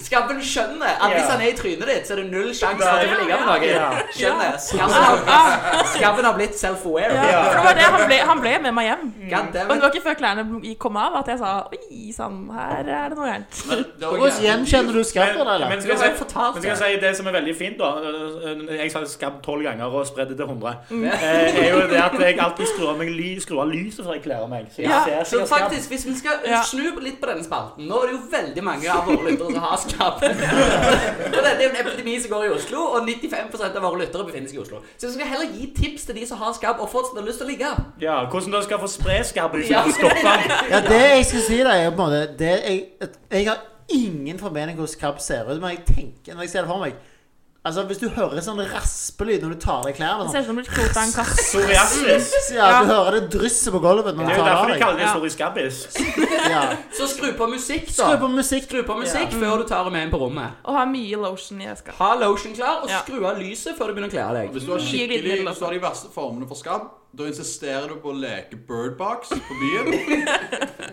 Skabben skjønner at hvis
Ja.
han er i trynet ditt, så er det null sjanse for at du får ligge med noen.
Ja.
Skjønner. Skabben har, skabben har blitt self-aware.
Ja, for det var det. Han ble, han ble med meg hjem.
God damn
Og det
it.
var ikke før klærne gikk- kom av at jeg sa Oi sann, her er det noe gærent.
men det var
Hvordan
jævlig
gjenkjenner du skabb, da?
Men, men
Leila?
skal
Du har jo
jeg si,
fortalt
men skal jeg si det som er veldig fint, da Eh, Jeg sa skabb tolv ganger og spredde til 100.
Mm.
Eh, er jo det at jeg alltid skrur av, meg ly, skrur av lyset før jeg kler av meg. Så jeg
Ja,
ser
Så
ikke skabb.
faktisk, hvis vi skal
Ja.
snu litt på denne spalten Nå er det jo veldig mange av våre lyttere som har skabb. Og dette er jo en epidemi som går i Oslo, og 95 av våre lyttere befinner seg i Oslo. Så vi skal heller gi tips til de som har skabb, og fortsatt har lyst til å ligge.
Ja, hvordan du skal få spre skabben uten
Ja.
å stoppe den.
Ja, det jeg skal si, da, er på en måte det jeg, at jeg har ingen formening om hvordan skabb ser ut, men jeg tenker når jeg ser det for meg Altså, Hvis du hører sånn raspelyd når du tar av deg klærne
Det
sånn,
ser ut som du blir klota av en katt.
Psoriasis.
ja, Du hører det drysser på gulvet
Det
når du
er jo
tar
derfor de
det av deg.
kaller det psoriskabbis.
Ja.
Så skru på musikk, da.
Skru på musikk.
Skru på musikk før du tar det med inn på rommet.
Og har mye lotion i eska.
Ha lotion klar, og
Ja.
skru av lyset før du begynner å kle av deg.
Hvis du har
Mye
skikkelig
glidemiddel,
Hvis du har de verste formene for skabb, da insisterer du på å leke birdbox på byen.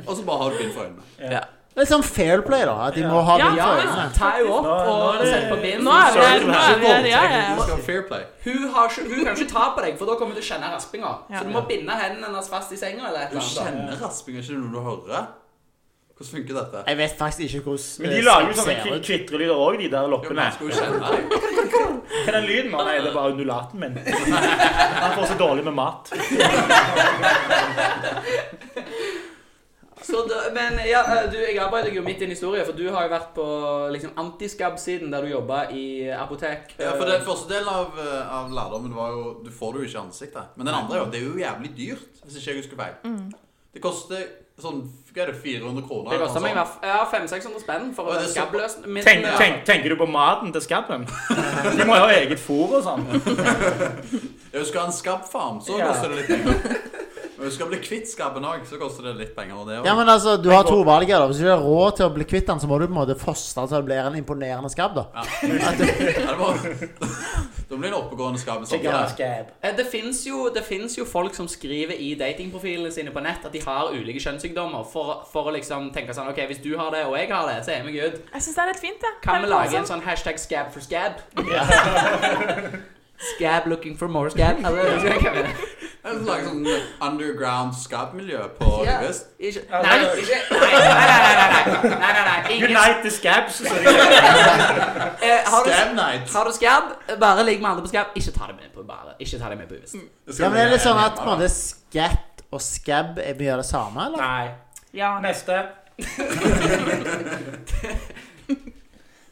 og så bare har du bind for øynene.
Ja.
Litt sånn fair play, da. At de må ha
Ja.
de
Ja,
følelsene.
ta henne opp
Nå- nå er
og
det-
sett på bind.
Nå er vi her.
Sorry,
Nå er vi her. Ja, ja.
Du skal ha fair play.
Hun, har ikke, hun kan ikke ta på deg, for da kommer du til å kjenne raspinga.
Ja.
Så du må binde hendene hennes fast i senga. eller et
Du
eller annet.
kjenner rasping, er ikke det noe du hører? Hvordan funker dette?
Jeg vet faktisk ikke hvordan
Men de
eh,
lager jo sånne
Skype ser
kvi-
ut.
kvitrelyder òg, de der
Jo, men
loppene.
jeg skal jo kjenne deg.
Hva er den lyden? Å, Nei, det er bare undulaten min. Han får så dårlig med mat.
Så da, men ja, eh, du, jeg arbeider jo midt i en historie, for du har jo vært på liksom, antiskabb-siden, der du jobba i apotek.
Ja, for den første delen av, eh, av lærdommen var jo Du får det jo ikke i ansiktet. Men den andre er jo det er jo jævlig dyrt, hvis ikke jeg husker feil. Det koster sånn hva er det, 400 kroner.
Det
eller
kosta
noe
meg i
sånt.
hvert fall ja, 500-600 spenn for
Å,
å
er
være
det så-
skabbløs. Min-
Tenk,
ja.
tenk, tenker du på maten til skabben? De må jo ha eget fôr og sånn.
Jeg husker en skabbfarm, så
Ja.
koster det litt penger. Men hvis du skal bli kvitt skabben òg, så koster det litt penger. Og det er
Ja,
jo-
men altså, Du har to valg. her da Hvis du ikke har råd til å bli kvitt den, så må du på en måte fostre til det blir en imponerende skabb. da
Ja, det var, da blir det en oppegående skabb. Sånn,
Eh, Det fins jo, det finnes jo folk som skriver i datingprofilene sine på nett at de har ulike kjønnssykdommer, for, for å liksom tenke sånn OK, hvis du har det, og jeg har det, så er vi good.
Jeg syns det er litt fint, jeg.
Kan vi
Helt
lage en
awesome.
sånn hashtag scab for scab? scab looking for more scab? Eller, hva kan vi det?
Jeg vil lage sånn underground skabbmiljø på
Ja.
Uvisst.
Ikke, nei, ikke, nei, nei, nei, nei, nei, nei, nei, nei, ingen,
Unite the scabs. Så de,
eh, har, du,
Scab night.
har du skab, bare ligg med andre på skab. Ikke ta det med på bare. Ikke ta det med på uvisst.
Det skal
Ja, men det er
bli
litt sånn at
hjemme,
på
da.
en måte skatt og skabb er mye av det samme, eller?
Nei.
Ja.
Neste.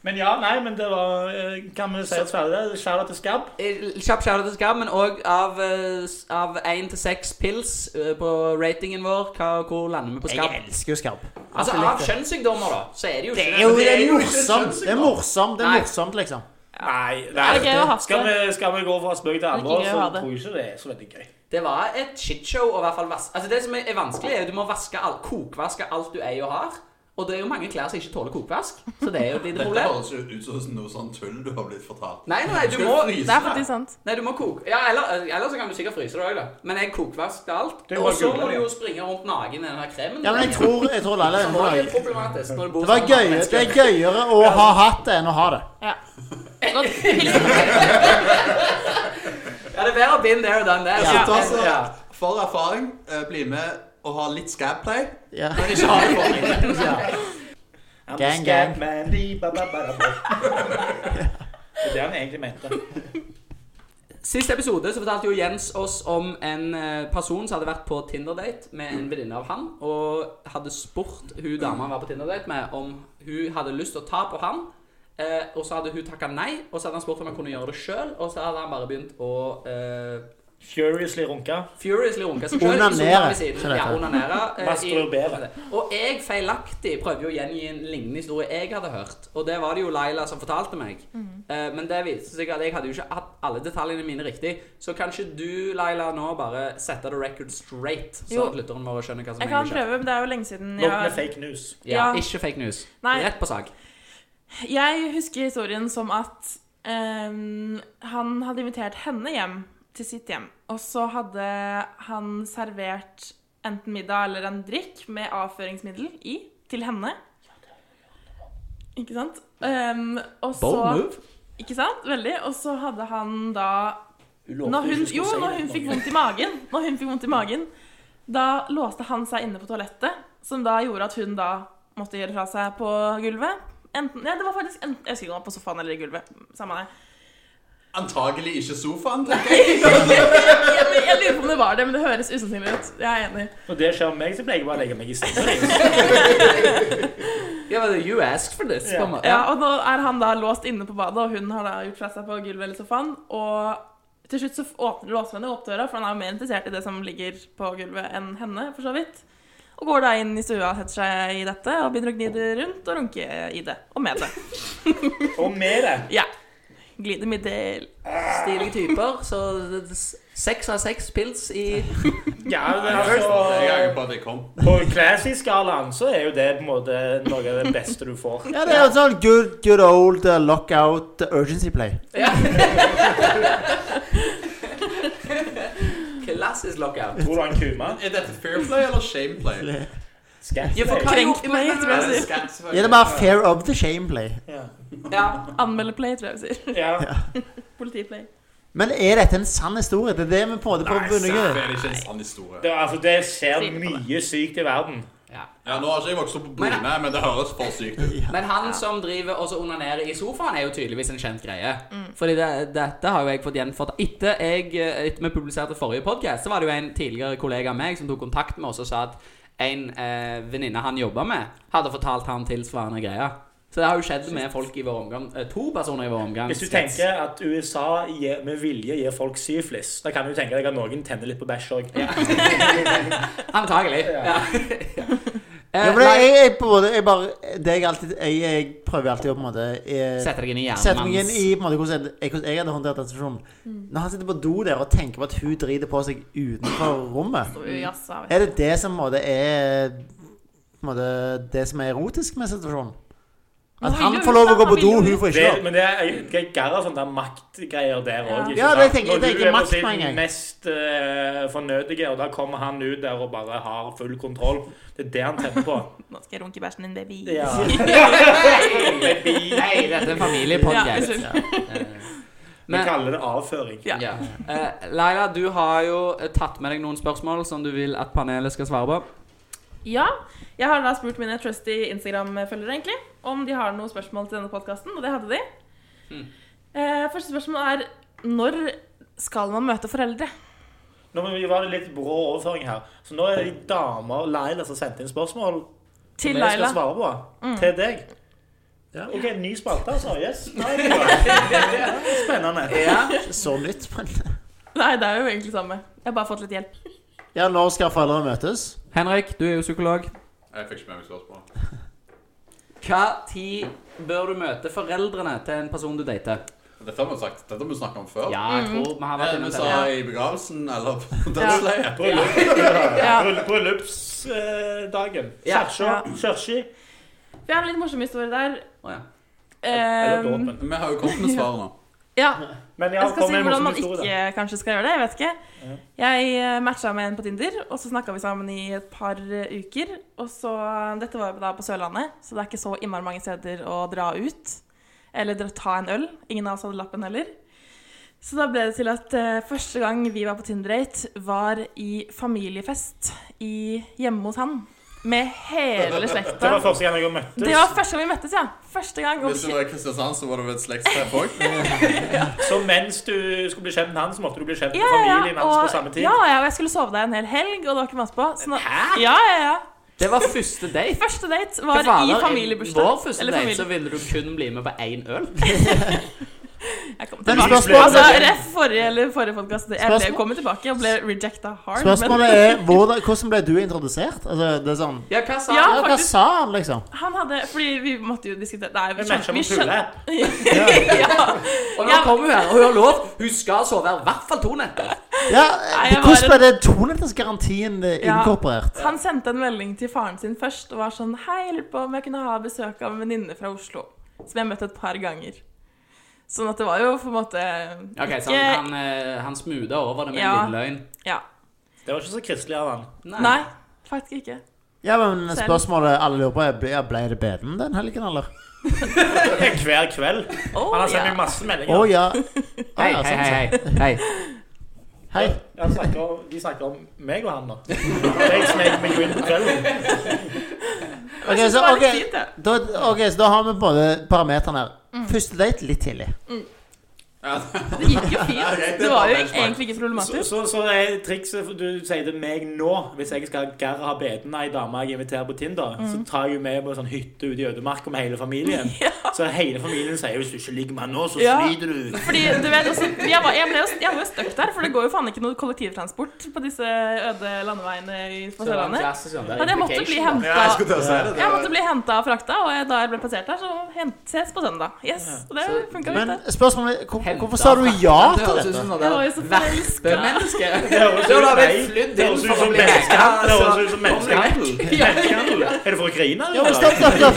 Men ja, nei, men det var eh, Kan vi si oss ferdig der? Skjæra til skabb?
Eh, Kjapp kjærlighet til skab, men òg av, eh, s- av 1 til 6 pils eh, på ratingen vår. Hva, hvor lander vi på skab?
Jeg elsker jo skabb.
Altså, av kjønnssykdommer, da, så er det jo
Det
ikke
er jo
det er
det er
jo ikke
morsomt. Det er morsomt, det
Nei.
er morsomt liksom.
Nei.
Er det gøy å ha
Skal,
det?
vi, skal vi gå fra spøk til alvor,
Det er ikke gøy å
så
ha det.
tror jeg ikke det er så veldig gøy.
Det var et shitshow å i hvert fall vaske Altså, det som er er vanskelig, er jo du må vaske alt, kokvaske alt du eier og har. Og det er jo mange klær som ikke tåler kokvask, så det er jo et lite
Dette
problem.
høres jo ut som noe sånn tull du har blitt fortalt.
Nei, nei, du
Skal
må
fryse
Det er
det?
faktisk sant.
Nei, du må koke Ja, eller, eller så kan du sikkert fryse det òg, da. Men jeg kokvasker alt.
Det er jo
Og
bare
så
gulrøtter.
må du jo springe rundt naken i den her kremen.
Ja, men jeg tror, jeg tror Leila er
Som
med på
også er
det.
problematisk når du bor
Det var
sammen med
gøy,
mennesker.
det er gøyere å ha hatt det enn å ha det.
Ja. Godt. Hilsen.
Ja, det er bedre been there than there.
Så
Ja.
ta så,
Ja.
for erfaring, eh, bli med og ha litt scab-play.
Ja.
Men ikke ha det for deg.
I'm
Gang,
the
gang.
scab man, di, ba, ba, ba, da, ba. Det er det han egentlig mente.
Sist episode så fortalte jo Jens oss om en eh, person som hadde vært på Tinder-date med en venninne av han, og hadde spurt hun dama han var på Tinder-date med, om hun hadde lyst til å ta på han. Eh, og så hadde hun takka nei, og så hadde han spurt om han kunne gjøre det sjøl, og så hadde han bare begynt å eh,
Furiously runka.
Furiously runke seg sjøl.
Onanere, skjønner jeg
Ja,
det.
onanere. eh,
Masturbere.
i- Og jeg feilaktig prøvde jo å gjengi en lignende historie jeg hadde hørt. Og det var det jo Laila som fortalte meg.
Mhm.
Eh, Men det viste seg at jeg hadde jo ikke hatt alle detaljene mine riktig. Så kanskje du, Laila, nå bare setter the record straight,
Jo.
så at lytteren vår skjønner hva som
Jeg kan
egentlig skjedde.
prøve, men det er jo lenge siden jeg
Nok med
har
fake news.
Ja,
Ja.
ikke fake news.
Nei.
Rett på sak.
Jeg husker historien som at ehm, han hadde invitert henne hjem til sitt hjem. Og så hadde han servert enten middag eller en drikk med avføringsmiddel i til henne. Ikke sant? Ehm, og så,
Bold move.
Ikke sant? Veldig. Og så hadde han da
lovte
når
ikke
hun,
du skulle
Jo,
si
når
det
hun
til
fikk
noen.
vondt i magen, når hun fikk vondt i magen, da låste han seg inne på toalettet, som da gjorde at hun da måtte gjøre fra seg på gulvet. Enten, ja, det var faktisk enten, Jeg husker ikke om det var på sofaen eller i gulvet. Samme det.
Antagelig ikke sofaen, tenker jeg.
Jeg, jeg lurer på om det var det, men det høres usannsynlig ut. Jeg er enig.
Når det skjer med meg, så pleier jeg bare å legge meg i senga.
Ja, men you asked for this.
Ja.
på en måte.
Ja, og nå er han da låst inne på badet, og hun har da gjort fra seg på gulvet eller sofaen. Og til slutt så åpner, låser han jo opp døra, for han er jo mer interessert i det som ligger på gulvet enn henne, for så vidt. Og går da inn i stua og setter seg i dette, og begynner å gni det rundt og runke i det. Og med det.
Og med det
Ja. Glidemiddel.
Stilige typer. Så det- det- seks av seks pils i
Ja, men
Jeg er
altså
angrer på at jeg kom.
På classy-skalaen så er jo det på en måte noe av det beste du får.
Ja, det er jo sånn good, good old uh, lockout uh, urgency play.
Klassisk lockout.
Tror du han kuma?
Er dette fair play eller shame play?
Skatt.
Ja, for hva-
Krenk
jo,
meg,
men-
tror jeg.
Ja, det er bare fair of the shame play.
Ja.
Ja.
Anmeldeplay, tror jeg vi sier.
Ja.
Politiplay.
Men er dette en sann historie? Det er det vi på en måte prøver å
Selvfølgelig
undergrunne.
er det ikke en sann historie.
Det, altså, det skjer
Sier det på det.
mye sykt i verden.
ja.
Ja, Nå har ikke jeg vokst opp på
Men-
Bryne, men det høres for sykt ut.
Men han som driver og så onanerer i sofaen, er jo tydeligvis en kjent greie. Fordi det, dette har jo jeg fått gjenfortalt. Etter, jeg, eh, etter vi publiserte forrige podkast, så var det jo en tidligere kollega av meg som tok kontakt med oss og sa at en eh, venninne han jobba med, hadde fortalt han tilsvarende greier. Så det har jo skjedd med folk i vår omgang. eh, To personer i vår omgang.
Hvis du tenker at USA gir, med vilje gir folk syflis, da kan du tenke deg at noen tenner litt på bæsj òg.
Antagelig. Ja.
Ja,
Eh,
for det,
nei,
jeg, jeg, på en måte, jeg bare det jeg, alltid, jeg, jeg prøver alltid å på en måte eh,
Setter deg inn i
Sett
hjernen
meg
hans.
inn i på en måte, hvordan jeg, hvordan jeg hadde håndtert den situasjonen.
Mm.
Når han sitter på do der og tenker på at hun driter på seg utenfor rommet,
Og jazza, vet du.
er det det som på en måte, er på en måte, det som er erotisk med situasjonen? At
Men
han
han
får lov å
gjør
gå
jo
på do,
det, han
hun
vil
får
Det,
ikke lov.
men det er det er garra sånn der maktgreier der
Ja.
òg.
Ja, det tenker jeg- det er ikke makt på en gang.
mest eh, fornødige, og da kommer han ut der og bare har full kontroll. Det er det han tenner på.
Nå skal jeg runke i bæsjen din, baby.
Ja.
Nei, dette er en
Ja,
familiepodkast.
unnskyld.
Vi kaller det avføring.
Ja.
Ja. Eh, Leila, du har jo eh, tatt med deg noen spørsmål som du vil at panelet skal svare på.
Ja, jeg har da spurt mine trusty Instagram-følgere egentlig om de har noen spørsmål til denne podkasten, og det hadde de.
Mm.
Eh, første spørsmål er når skal man møte foreldre?
Nå må vi var det litt brå overføring her. Så nå er det de damer Laila som sendte inn spørsmål
Til
som jeg skal
Laila. Mm.
svare på. Til deg. OK, ny spalte, altså. Yes. Nei, det er bra. Spennende.
Ikke Så nytt, men
Nei, det er jo egentlig samme. Jeg har bare fått litt hjelp.
Ja, når skal foreldrene møtes?
Henrik, du er jo psykolog.
Jeg fikk ikke med meg spørsmålet.
Hva tid bør du møte foreldrene til en person du dater?
Dette har vi sagt, dette har vi snakket om før.
Ja, jeg
Mhm.
tror vi har
Det
Eh,
vært
er det vi
innom
sa
det.
i begravelsen, eller på dødsleiet.
Ja.
Bryll- Bryllupsdagen.
Ja.
Kirka. Kirka.
Vi har en litt morsom historie der.
Å, ja.
Eller
Eh,
dåpen.
Vi har jo kommet med svaret nå.
ja,
Men
jeg
ja, kom
skal si
med en
hvordan
morsom
man
historie, da.
ikke kanskje skal gjøre det. Jeg vet ikke. Jeg eh, matcha med en på Tinder, og så snakka vi sammen i et par eh, uker. Og så eh, Dette var jo da på Sørlandet, så det er ikke så innmari mange steder å dra ut. Eller dra- ta en øl. Ingen av oss hadde lappen heller. Så da ble det til at eh, første gang vi var på Tinder-date, var i familiefest i, hjemme hos han. Med hele
Det var
slekta.
første gang jeg møttes.
Det var første gang vi møttes, ja. Første gang.
Hvis du var i Kristiansand, så var det vel et slektstreff òg.
Så mens du skulle bli kjent med han, så måtte du bli kjent med
Ja, ja,
familien hans
og,
på samme tid.
ja, ja, og jeg skulle sove der en hel helg, og det var ikke masse på. Så nå,
Hæ?
ja, ja, ja.
Det var første date.
Første date
Hva
var
faen,
i
da?
familiebursdag.
Vår første
Eller
date,
familie-
så ville du kun bli med på én øl.
Jeg kom
Men
tilbake.
spørsmålet-
Altså, ref forrige eller forrige podcast, Jeg ble
Spørsmål-
kommet tilbake og ble rejecta hard.
Spørsmålet er hvordan, hvordan ble du introdusert? Altså, det er sånn
Ja, hva sa
Ja.
ja, Hva
faktisk.
sa han, liksom?
Men han hadde Fordi vi måtte jo diskutere Nei, vi
Vi matcha
skjønte, vi
på Pule.
skjønte. Ja.
Og nå
Ja.
kommer hun her, og hun har lov. Hun skal sove her i hvert fall to netter.
Ja,
Nei, jeg
hvordan ble
bare-
det tonettersgarantien eh,
Ja.
inkorporert?
Han sendte en melding til faren sin først og var sånn Hei, jeg lurer på om jeg kunne ha besøk av en venninne fra Oslo. Som jeg møtte et par ganger. Sånn at det var jo på en måte
Ok, Så
ikke-
han, han, eh, han smootha over det med
Ja.
en liten løgn.
Ja.
Det var ikke så kristelig av han.
Nei, faktisk ikke.
Ja, men
Selv.
Spørsmålet alle lurer på, er ble, ja, ble det beden den helgen, eller?
Hver kveld.
Oh,
Han har sendt
ja.
meg masse
Å
meldinger.
ja.
Hei,
Ah, ja,
hei,
sånn
hei. hei. hei.
sett. hei.
Han snakker om, de snakker om meg og han nå. Jeg snek meg jo inn på kvelden.
Ok,
Jeg synes
så,
det var litt
ok,
fint, det.
da, ok, så da har vi både parameteren her. Første date litt tidlig.
Ja,
Det gikk jo
Ja, ok, det
fint. Det
er
var jo
bare benchmark.
egentlig ikke
Så,
problematisk.
så, så er trikset for- Du sier til meg nå, hvis jeg skal garre ha beden ei dame jeg inviterer på Tinder, så tar jeg jo med på en sånn hytte ute i ødemarka med hele familien. Så hele familien sier hvis du ikke ligger med han nå, så
Ja.
sliter du.
Fordi, du vet, også, jeg, var, jeg, ble jo, jeg var jo støkt der, for det går jo faen ikke noe kollektivtransport på disse øde landeveiene i- på
Så det var en
Sørlandet.
klassisk sånn der
Men jeg måtte bli
implication, da.
Ja, jeg
henta
skulle til å si det.
jeg måtte bli henta og frakta, og jeg- da jeg ble plassert der, så hent- ses på søndag. Yes, og det funka jo
Men
ikke.
spørsmålet er, hvor,
Henta.
hvorfor sa du ja
Det
til
høres ut
dette?
som sånn
Jeg var jo så forelska.
verpemenneske.
Det høres ut
Da har
som
vi
meg.
flydd
Det
inn
høres ut
for å
som
bli
menneskehandel. Det høres ut som
menneskehandel.
menneskehandel. Menneskehandel. Er det for å grine?
Ja, men
eller?
stopp, stopp, stopp.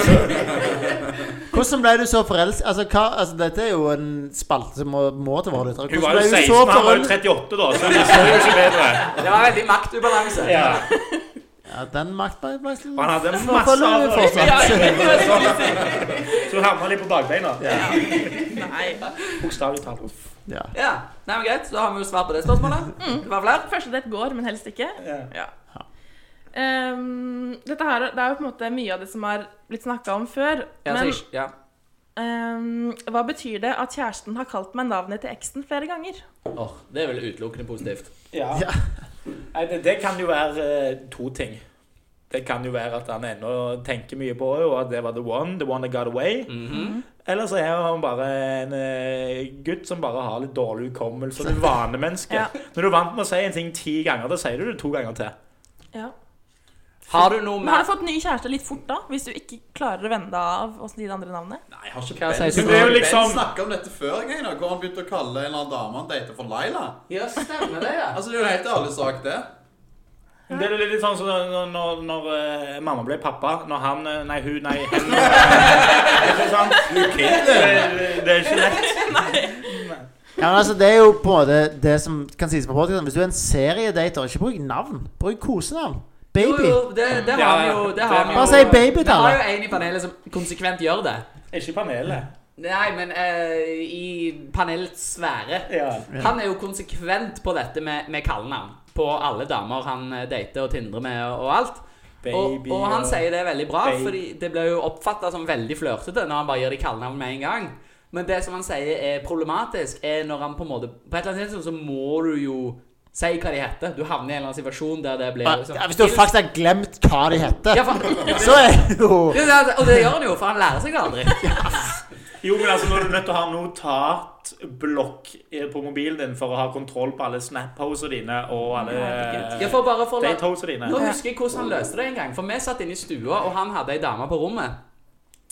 Hvordan ble du så forelsket? Altså, hva, altså, dette er jo en spalte som må, må til våre lyttere.
Hun var jo
Hvordan ble du
16,
så
han var jo
forelsket?
38 da, så hun visste jo ikke bedre.
Det var veldig maktubalanse.
Ja.
Ja, den maktbalansen
Og han hadde masse
følger vi
av
fortsatt.
Så havna de på bakbeina.
Nei.
Bokstavelig talt.
Ja.
Ja, Nei, men Greit, så har vi jo svar på det spørsmålet. Det var flere.
Første date går, men helst ikke.
Ja.
Ja. Ehm, dette her, det er jo på en måte mye av det som har blitt snakka om før.
Ja, så
men
ikke, ja.
ehm, hva betyr det at kjæresten har kalt meg navnet til eksen flere ganger?
Åh, det er vel utelukkende positivt.
Ja.
Ja.
Nei, det, det kan jo være eh, to ting. Det kan jo være at han ennå tenker mye på det, og at det var the one, the one that got away.
Mhm.
Eller så er han bare en eh, gutt som bare har litt dårlig hukommelse. og Du er vanemenneske.
Ja.
Når du er vant med å si en ting ti ganger, da sier du det to ganger til.
Ja.
Har du noe
Men har
mer
du fått ny kjæreste litt fort da, hvis du ikke klarer å vende deg av åssen de andre navnene?
Nei, jeg har ikke
Hva
Ben,
sier
du? Det er jo liksom-
ben snakket om dette før en gang, da, hvor han begynte å kalle en eller annen dame han dater for Laila.
Ja, stemmer det, ja.
Altså, det er jo en helt ærlig sak, det.
Det er litt sånn som når, når, når eh, mamma ble pappa. Når han eh, Nei, hun, nei, hen. Ikke sant? Det, det er ikke lett.
ja, men altså, det er jo på en måte det som kan sies på podcasten. Hvis du er en seriedater, ikke bruk navn. Bruk kosenavn.
Jo,
Baby.
jo, det, det har vi jo. Mm. Det har vi jo.
Bare si baby
Vi
til
har
alle.
jo en i panelet som konsekvent gjør det.
Ikke panelet.
Nei, men eh, i panelets sfære.
Ja.
Han er jo konsekvent på dette med, med kallenavn. På alle damer han eh, dater og tindrer med og, og alt. Og,
Baby
og han
og-
sier det veldig bra,
Baby.
fordi det blir jo oppfatta som veldig flørtete når han bare gir de kallenavn med en gang. Men det som han sier er problematisk, er når han på en måte På et eller annet tidspunkt så må du jo si hva de heter. Du havner i en eller annen situasjon der det blir liksom-
Ja, Hvis du faktisk har glemt hva de heter,
ja, for,
så er det jo
Det er det- Og det gjør han jo, for han lærer seg det aldri.
Jo, men altså, når du er nødt til å ha notatblokk eh, på mobilen din for å ha kontroll på alle snap-hosene dine og alle Eh,
Ja, for bare for å la-
date-hosene dine.
Nå husker jeg hvordan han løste det en gang. For vi satt inne i stua, og han hadde ei dame på rommet.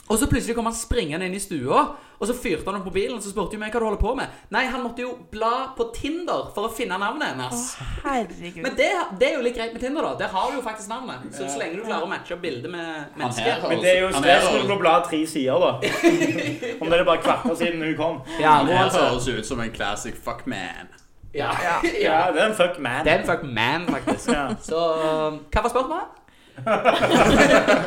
Og så plutselig kom han springende inn i stua, og så fyrte han opp mobilen. Og så spurte jo meg hva du holder på med. Nei, han måtte jo bla på Tinder for å finne navnet hennes.
Herregud.
Men det, det er jo litt greit med Tinder, da. Der har du jo faktisk navnet. Så så lenge du klarer å matche opp bildet med
Han her
mennesker.
har-
Men det er jo
han her
stress når du må
høres-
bla tre sider, da. Om det er bare kvarter siden hun kom.
Ja,
Han
nå
her
altså.
høres jo ut som en classic fuck man.
Ja.
Ja, det er en fuck man.
Det er en fuck man, faktisk.
Ja.
Så hva var spørsmålet?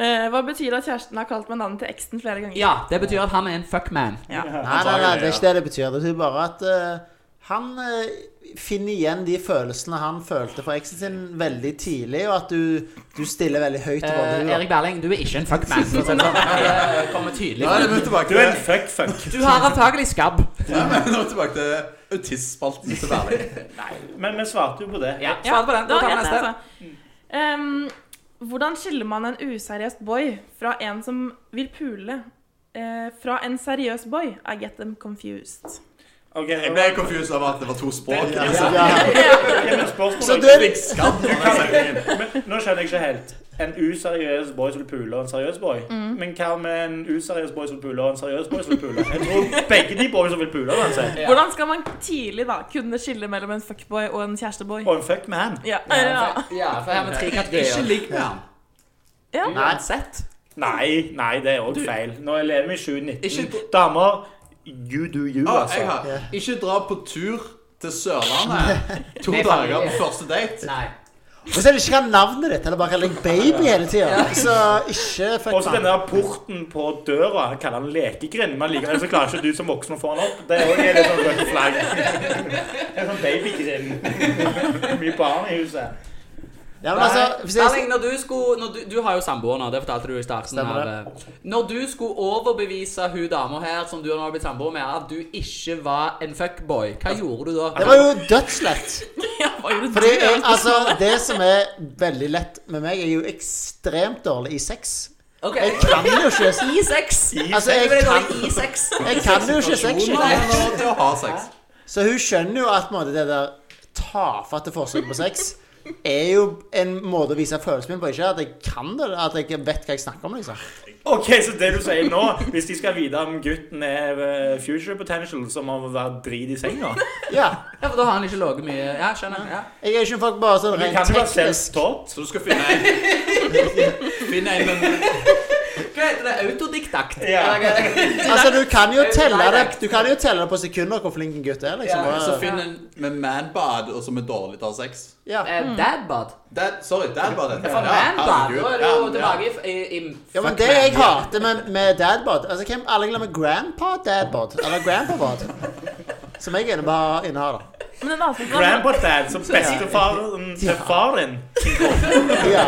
Eh, hva betyr det at kjæresten har kalt meg navnet til eksen flere ganger?
Ja, det betyr at han er en fuck man.
Nei, nei, nei, det er ikke det det betyr. Det betyr bare at eh, han eh, finner igjen de følelsene han følte for eksen sin veldig tidlig, og at du, du stiller veldig høyt til hva
Eh,
du
Erik Berling, du er ikke en fuck man. for å si det sånn. Det kommer tydelig
Nå er
frem.
vi tilbake
Du er en
til,
fuck fuck.
Du har antakelig skabb.
ja, men nå er vi tilbake til autistspalten til Berling.
Men vi svarte jo på det.
Ja,
Ja,
svar på den.
det
Da
var
tar vi
greit,
neste.
altså. Ehm, hvordan skiller man en useriøs boy fra en som vil pule? eh, fra en seriøs boy? I get them confused.
Ok,
Jeg ble confused over at det var to språk.
Ja.
gjør. Ja. Så
Så
du er
Skatt,
Du kan- Men nå skjønner jeg ikke helt. En useriøs boy som vil pule, og en seriøs boy. Men hva med en useriøs boy som puler, og en seriøs boy som vil pule? Jeg tror begge de boys som vil pule, uansett.
Hvordan skal man tidlig da kunne skille mellom en fuckboy og en kjæresteboy?
Og en fuck man.
Ja,
Ja,
ja.
for- ja, for her med tre
Ikke
kategorier.
ligg med han.
ja.
Uansett.
Nei, nei, det er òg feil. Nå lever vi i
Ikke-
2019. Damer, you do you,
Å, Ah, jeg
altså.
har. Ikke dra på tur til Sørlandet to
Med
dager
familie.
på første date.
Nei.
gjør. Og så er det ikke hva navnet ditt, eller bare kall deg baby hele tida. Så ikke fuck
Også den
man.
der porten på døra jeg kaller han lekegrind, men likevel så klarer ikke du som voksen å få han opp. Det er også litt sånn rødt flagg. Det er sånn babygrind. Mye barn i huset.
Ja, men altså, hvis jeg,
Erling, når du skulle når du, du har jo samboer nå, det fortalte du i starten.
Stemmer
Her. eh. Når du skulle overbevise hun dama her som du nå har blitt samboer med, at du ikke var en fuckboy, hva gjorde du da?
det var jo dødslett.
Hva gjorde
Fordi
du?
jeg, altså, det som er veldig lett med meg, er jo ekstremt dårlig i sex.
Ok.
Jeg kan jo ikke
I sex.
Altså, jeg
Det var
kan,
i sex.
jeg kan jo ikke sex.
Nei, nå til å ha sex.
Så hun skjønner jo at på en måte, det der tafatte forsøket på sex er jo en måte å vise følelsen min på. Ikke at jeg kan det, at jeg ikke vet hva jeg snakker om. liksom.
Ok, så det du sier nå, hvis de skal vite om gutten er eh, future potential, så må han være drit i senga.
Ja,
Ja, for da har han ikke ligget mye Ja, skjønner. Ja.
Jeg er ikke en folk bare sånn
Du
rent
kan jo være
teknisk.
self-taught.
Så du skal finne en Finne en, men
Hva heter det? autodiktakt.
Ja.
Altså, du kan jo telle det Du kan jo telle det på sekunder hvor flink en gutt er, liksom.
Ja,
Så
Og-
finn en med manbad og som er dårlig til å ha sex.
Ja.
Eh, Dadbod.
Dad, sorry, dadbad. heter det.
For manbad,
herregud.
da er du
Ja,
jo tilbake i, i, i
ja, men
Fuck
det
man,
jeg
ja.
hater med, med dadbod Altså, hvem alle glemmer grandpa dadbod? Eller grandpabod? Som jeg innebærer- innehar, da.
Men en annen som
Grandpa dad som bestefaren til faren.
Ja.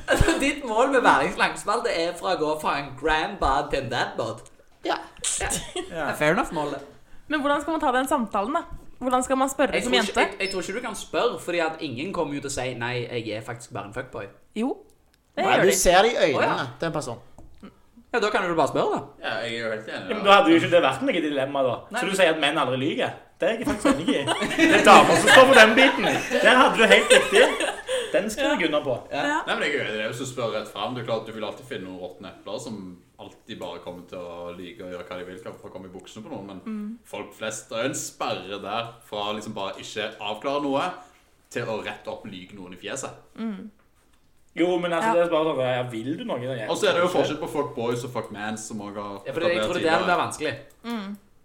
Ditt mål med Værings langspalte er fra å gå fra en grandbad til en dadbod.
ja.
Det er Fair enough, målet.
Men hvordan skal man ta den samtalen, da? Hvordan skal man spørre
Jeg
som
tror, ikke,
jente?
jeg, jeg tror ikke du kan spørre, fordi at ingen kommer jo til å si nei, jeg er faktisk bare en fuckboy.
Jo, det
Nei,
gjør
du
de.
ser det i
Å,
øynene
ja.
til en person.
Ja, Da kan du bare spørre, da.
Ja, jeg er jo helt
Ja,
enig.
Men
da.
da hadde jo ikke det vært noe dilemma, da.
Nei.
Så du sier at menn aldri lyver. Det er jeg faktisk enig i. Det er damer som står for den biten. Den hadde du helt riktig. Den skriver Gunnar på.
Ja.
Nei, men jeg er jo enig. Det er jo så spør rett frem. Det er klart at Du vil alltid finne noen råtne epler som alltid bare kommer til å like å gjøre hva de vil for å komme i buksene på noen, men folk flest Det er jo en sperre der fra liksom bare ikke avklare noe til å rett opp lyge noen i fjeset.
Jo, men altså,
Ja.
det er bare sånn ja, Vil du noe?
Og så er det jo forskjell på fuck boys og fuck mans, som også har
Ja, for jeg tror det er der det blir vanskelig.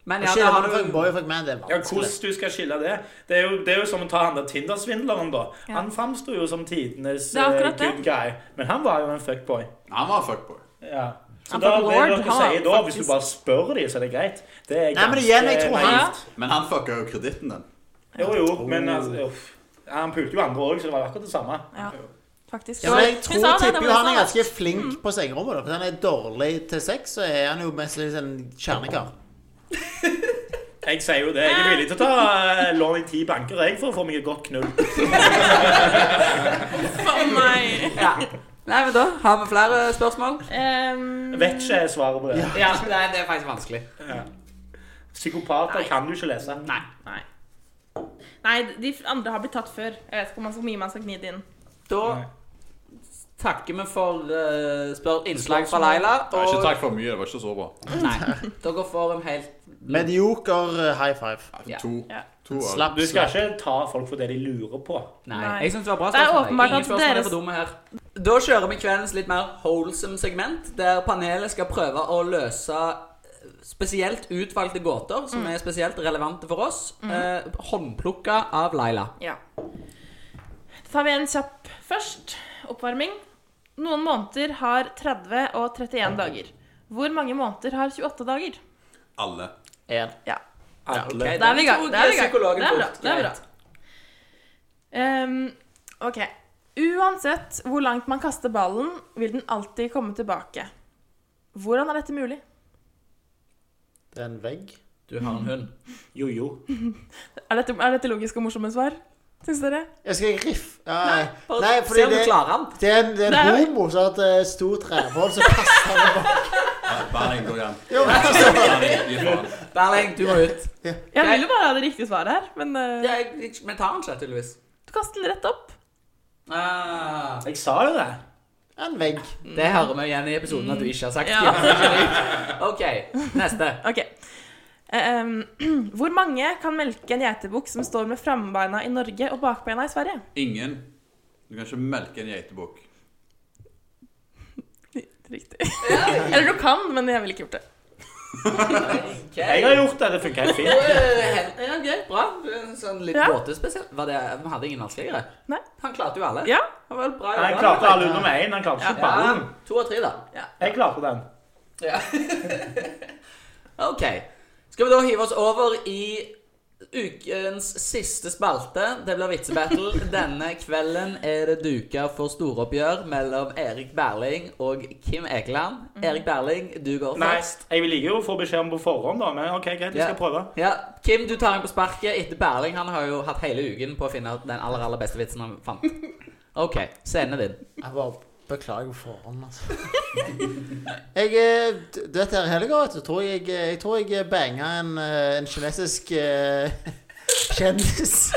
Men ja,
Skille
da har
mellom
du
boy og man, det er
Ja,
vanskelig.
hvordan du skal skille det? Det er jo, det er jo som å ta han der Tinder-svindleren, da. Han framsto jo som tidenes
Det er
eh,
akkurat det.
good guy, men han var jo en fuckboy.
Han var fuckboy.
Ja. Så
Han
da,
fuck
det
lord,
dere
han var
sier da, hvis du
faktisk-
bare spør dem, så er det greit. Det er
Nei, men igjen, jeg tror han-
naivt.
Men han fucka jo kreditten din.
Jo, jo, men altså, uff. Han pulte jo andre òg, så det var akkurat det samme.
Ja. Faktisk.
Ja, men jeg
Hun
tror
sa det, det var
tipper jo
det
han er
hun sa.
ganske flink
Mm.
på sengerommet. da, For han er dårlig til sex, så er han jo mest litt en kjernekar.
Jeg sier jo det. Jeg er villig til å ta eh, lån i ti banker jeg, for å få meg et godt knull.
Faen meg.
ja. Nei, men da har vi flere spørsmål.
Ehm,
Jeg Vet ikke svaret på det.
Ja, Nei, det er faktisk vanskelig.
Psykopater kan du ikke lese.
Nei.
Nei, de andre har blitt tatt før. Jeg vet ikke om man- hvor mye man skal gni det inn.
Da
Nei.
takker vi for eh, spør innslag fra Laila.
Nei, ikke
Og
takk for mye. Det var ikke så bra.
Nei. Dere får en helt
Medioker eh, high five.
Ja.
To,
Ja.
to øl.
Slapp.
Du skal ikke ta folk for det de lurer på.
Nei,
Nei.
jeg synes det var bra
Det er
spørsmål.
åpenbart
Ingen
at
spørsmål
deres-
er for dumme her. Da kjører vi kveldens litt mer wholesome segment, der panelet skal prøve å løse eh, spesielt utvalgte gåter,
Mm.
som er spesielt relevante for oss, eh, håndplukka av Laila.
Ja. Da tar vi en kjapp først. Oppvarming. Noen måneder har 30 og 31 dager. Hvor mange måneder har 28 dager?
Alle.
En.
Ja.
Ok,
Alle.
Da er vi i gang.
tok
Da er vi i gang.
psykologen
Det er bra,
fort.
det er bra.
Greit.
Ehm, OK. Uansett hvor langt man kaster ballen, vil den alltid komme tilbake. Hvordan er dette mulig?
Det er en vegg.
Du har en hund.
Jo, jo.
Er dette, er dette logiske og morsomme svar? Syns dere?
Jeg skal riff... Nei,
Bare
Nei
se
fordi
om
det,
du klarer den.
det er en, det er
Det
en
er jo-
homo som har et eh, stort rævhull som passer han over.
Bare en god gang.
Jo, men altså,
Gi faen.
Berling, du må ut.
Jeg vil jo bare ha det riktige svaret her, men eh,
Ja, jeg- jeg- Vi tar den ikke, tydeligvis.
du kaster den rett opp.
Ah,
Jeg sa jo det.
En vegg.
det hører vi igjen i episoden at du ikke har sagt.
Ja.
OK, neste.
Ok. Ehm, hvor mange kan melke en geitebukk som står med frambeina i Norge og bakbeina i Sverige?
Ingen. Du kan ikke melke en geitebukk.
Riktig. Eller du kan, men jeg ville ikke gjort det.
Jeg har gjort det. Det funker helt fint.
Ja, greit, bra. Sånn litt
Ja.
gåtespesiell. Var det, vi hadde ingen vanskeligere.
Nei.
Han klarte jo alle.
Ja.
Han var bra
Han
jobba.
klarte alle utenom én. Han klarte
Ja.
ikke ballen.
To av tre, da.
Jeg klarte den.
Ja. ok. Skal vi da hive oss over i ukens siste spalte? Det blir vitsebattle. Denne kvelden er det duka for storoppgjør mellom Erik Berling og Kim Ekeland.
Mhm.
Erik Berling, du går
Nei,
først.
jeg liker jo å få beskjed om på forhånd, da, men OK, greit, vi
Ja.
skal prøve.
Ja, Kim, du tar en på sparket etter Berling. Han har jo hatt hele uken på å finne den aller aller beste vitsen han fant. OK, scenen din.
Jeg bare beklager på forhånd, altså. Jeg, eh, d- du vet her hele vet du, tror jeg, eh, jeg tror jeg banga en, eh, en kinesisk eh, kjendis.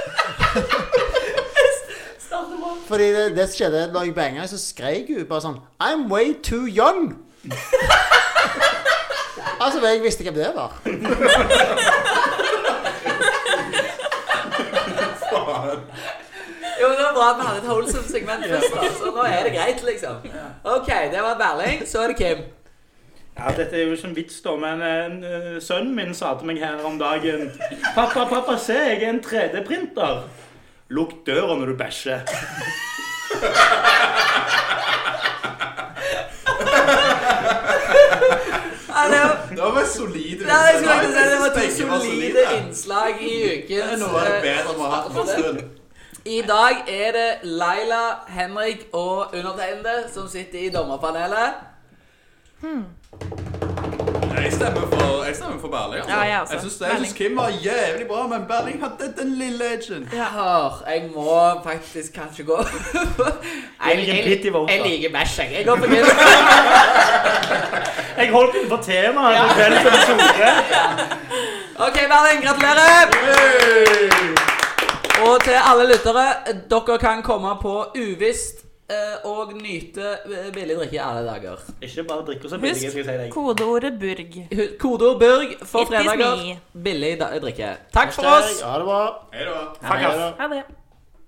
Fordi det, det som skjedde da jeg banga, så skrek hun bare sånn I'm way too young. altså, men jeg visste ikke hvem det var.
Jo, men Det var bra at vi hadde et wholesome segment først, da, så nå er det greit, liksom. OK, det var Berling. Så er det Kim.
Ja, dette er jo ikke en vits, da, men en, eh, sønnen min sa til meg her om dagen 'Pappa, pappa, se, jeg er en 3D-printer.' 'Lukk døra når du bæsjer.'
Ja, det var-
Det var bare solide
Ja, jeg skulle
innslag.
akkurat si det var to
Begge
solide innslag i ukens
Nå er det
eh,
bedre enn vi har hatt på en stund.
I dag er det Laila, Henrik og undertegnede som sitter i dommerpanelet.
Jeg stemmer for, jeg stemmer for Berling. Altså.
Ja, jeg også.
jeg syns jeg synes Kim var jævlig bra, men Berling hadde den lille edgen.
Hør, jeg må faktisk kanskje gå jeg,
ligger midt i våta.
jeg liker bæsj, jeg. Jeg går for min.
Jeg holdt innenfor temaet på kveldens episode.
OK, Berling, gratulerer. Og til alle lyttere, dere kan komme på Uvisst eh, og nyte eh, billig drikke alle dager.
Ikke bare drikke så billig, skal jeg si
Husk
deg.
kodeordet 'burg'.
Hu- Kodeord Burg for
Ittis
fredager.
ni.
Billig da- drikke. Takk for oss.
Ha det bra.
Hei da.
Fuck off.
Ha det.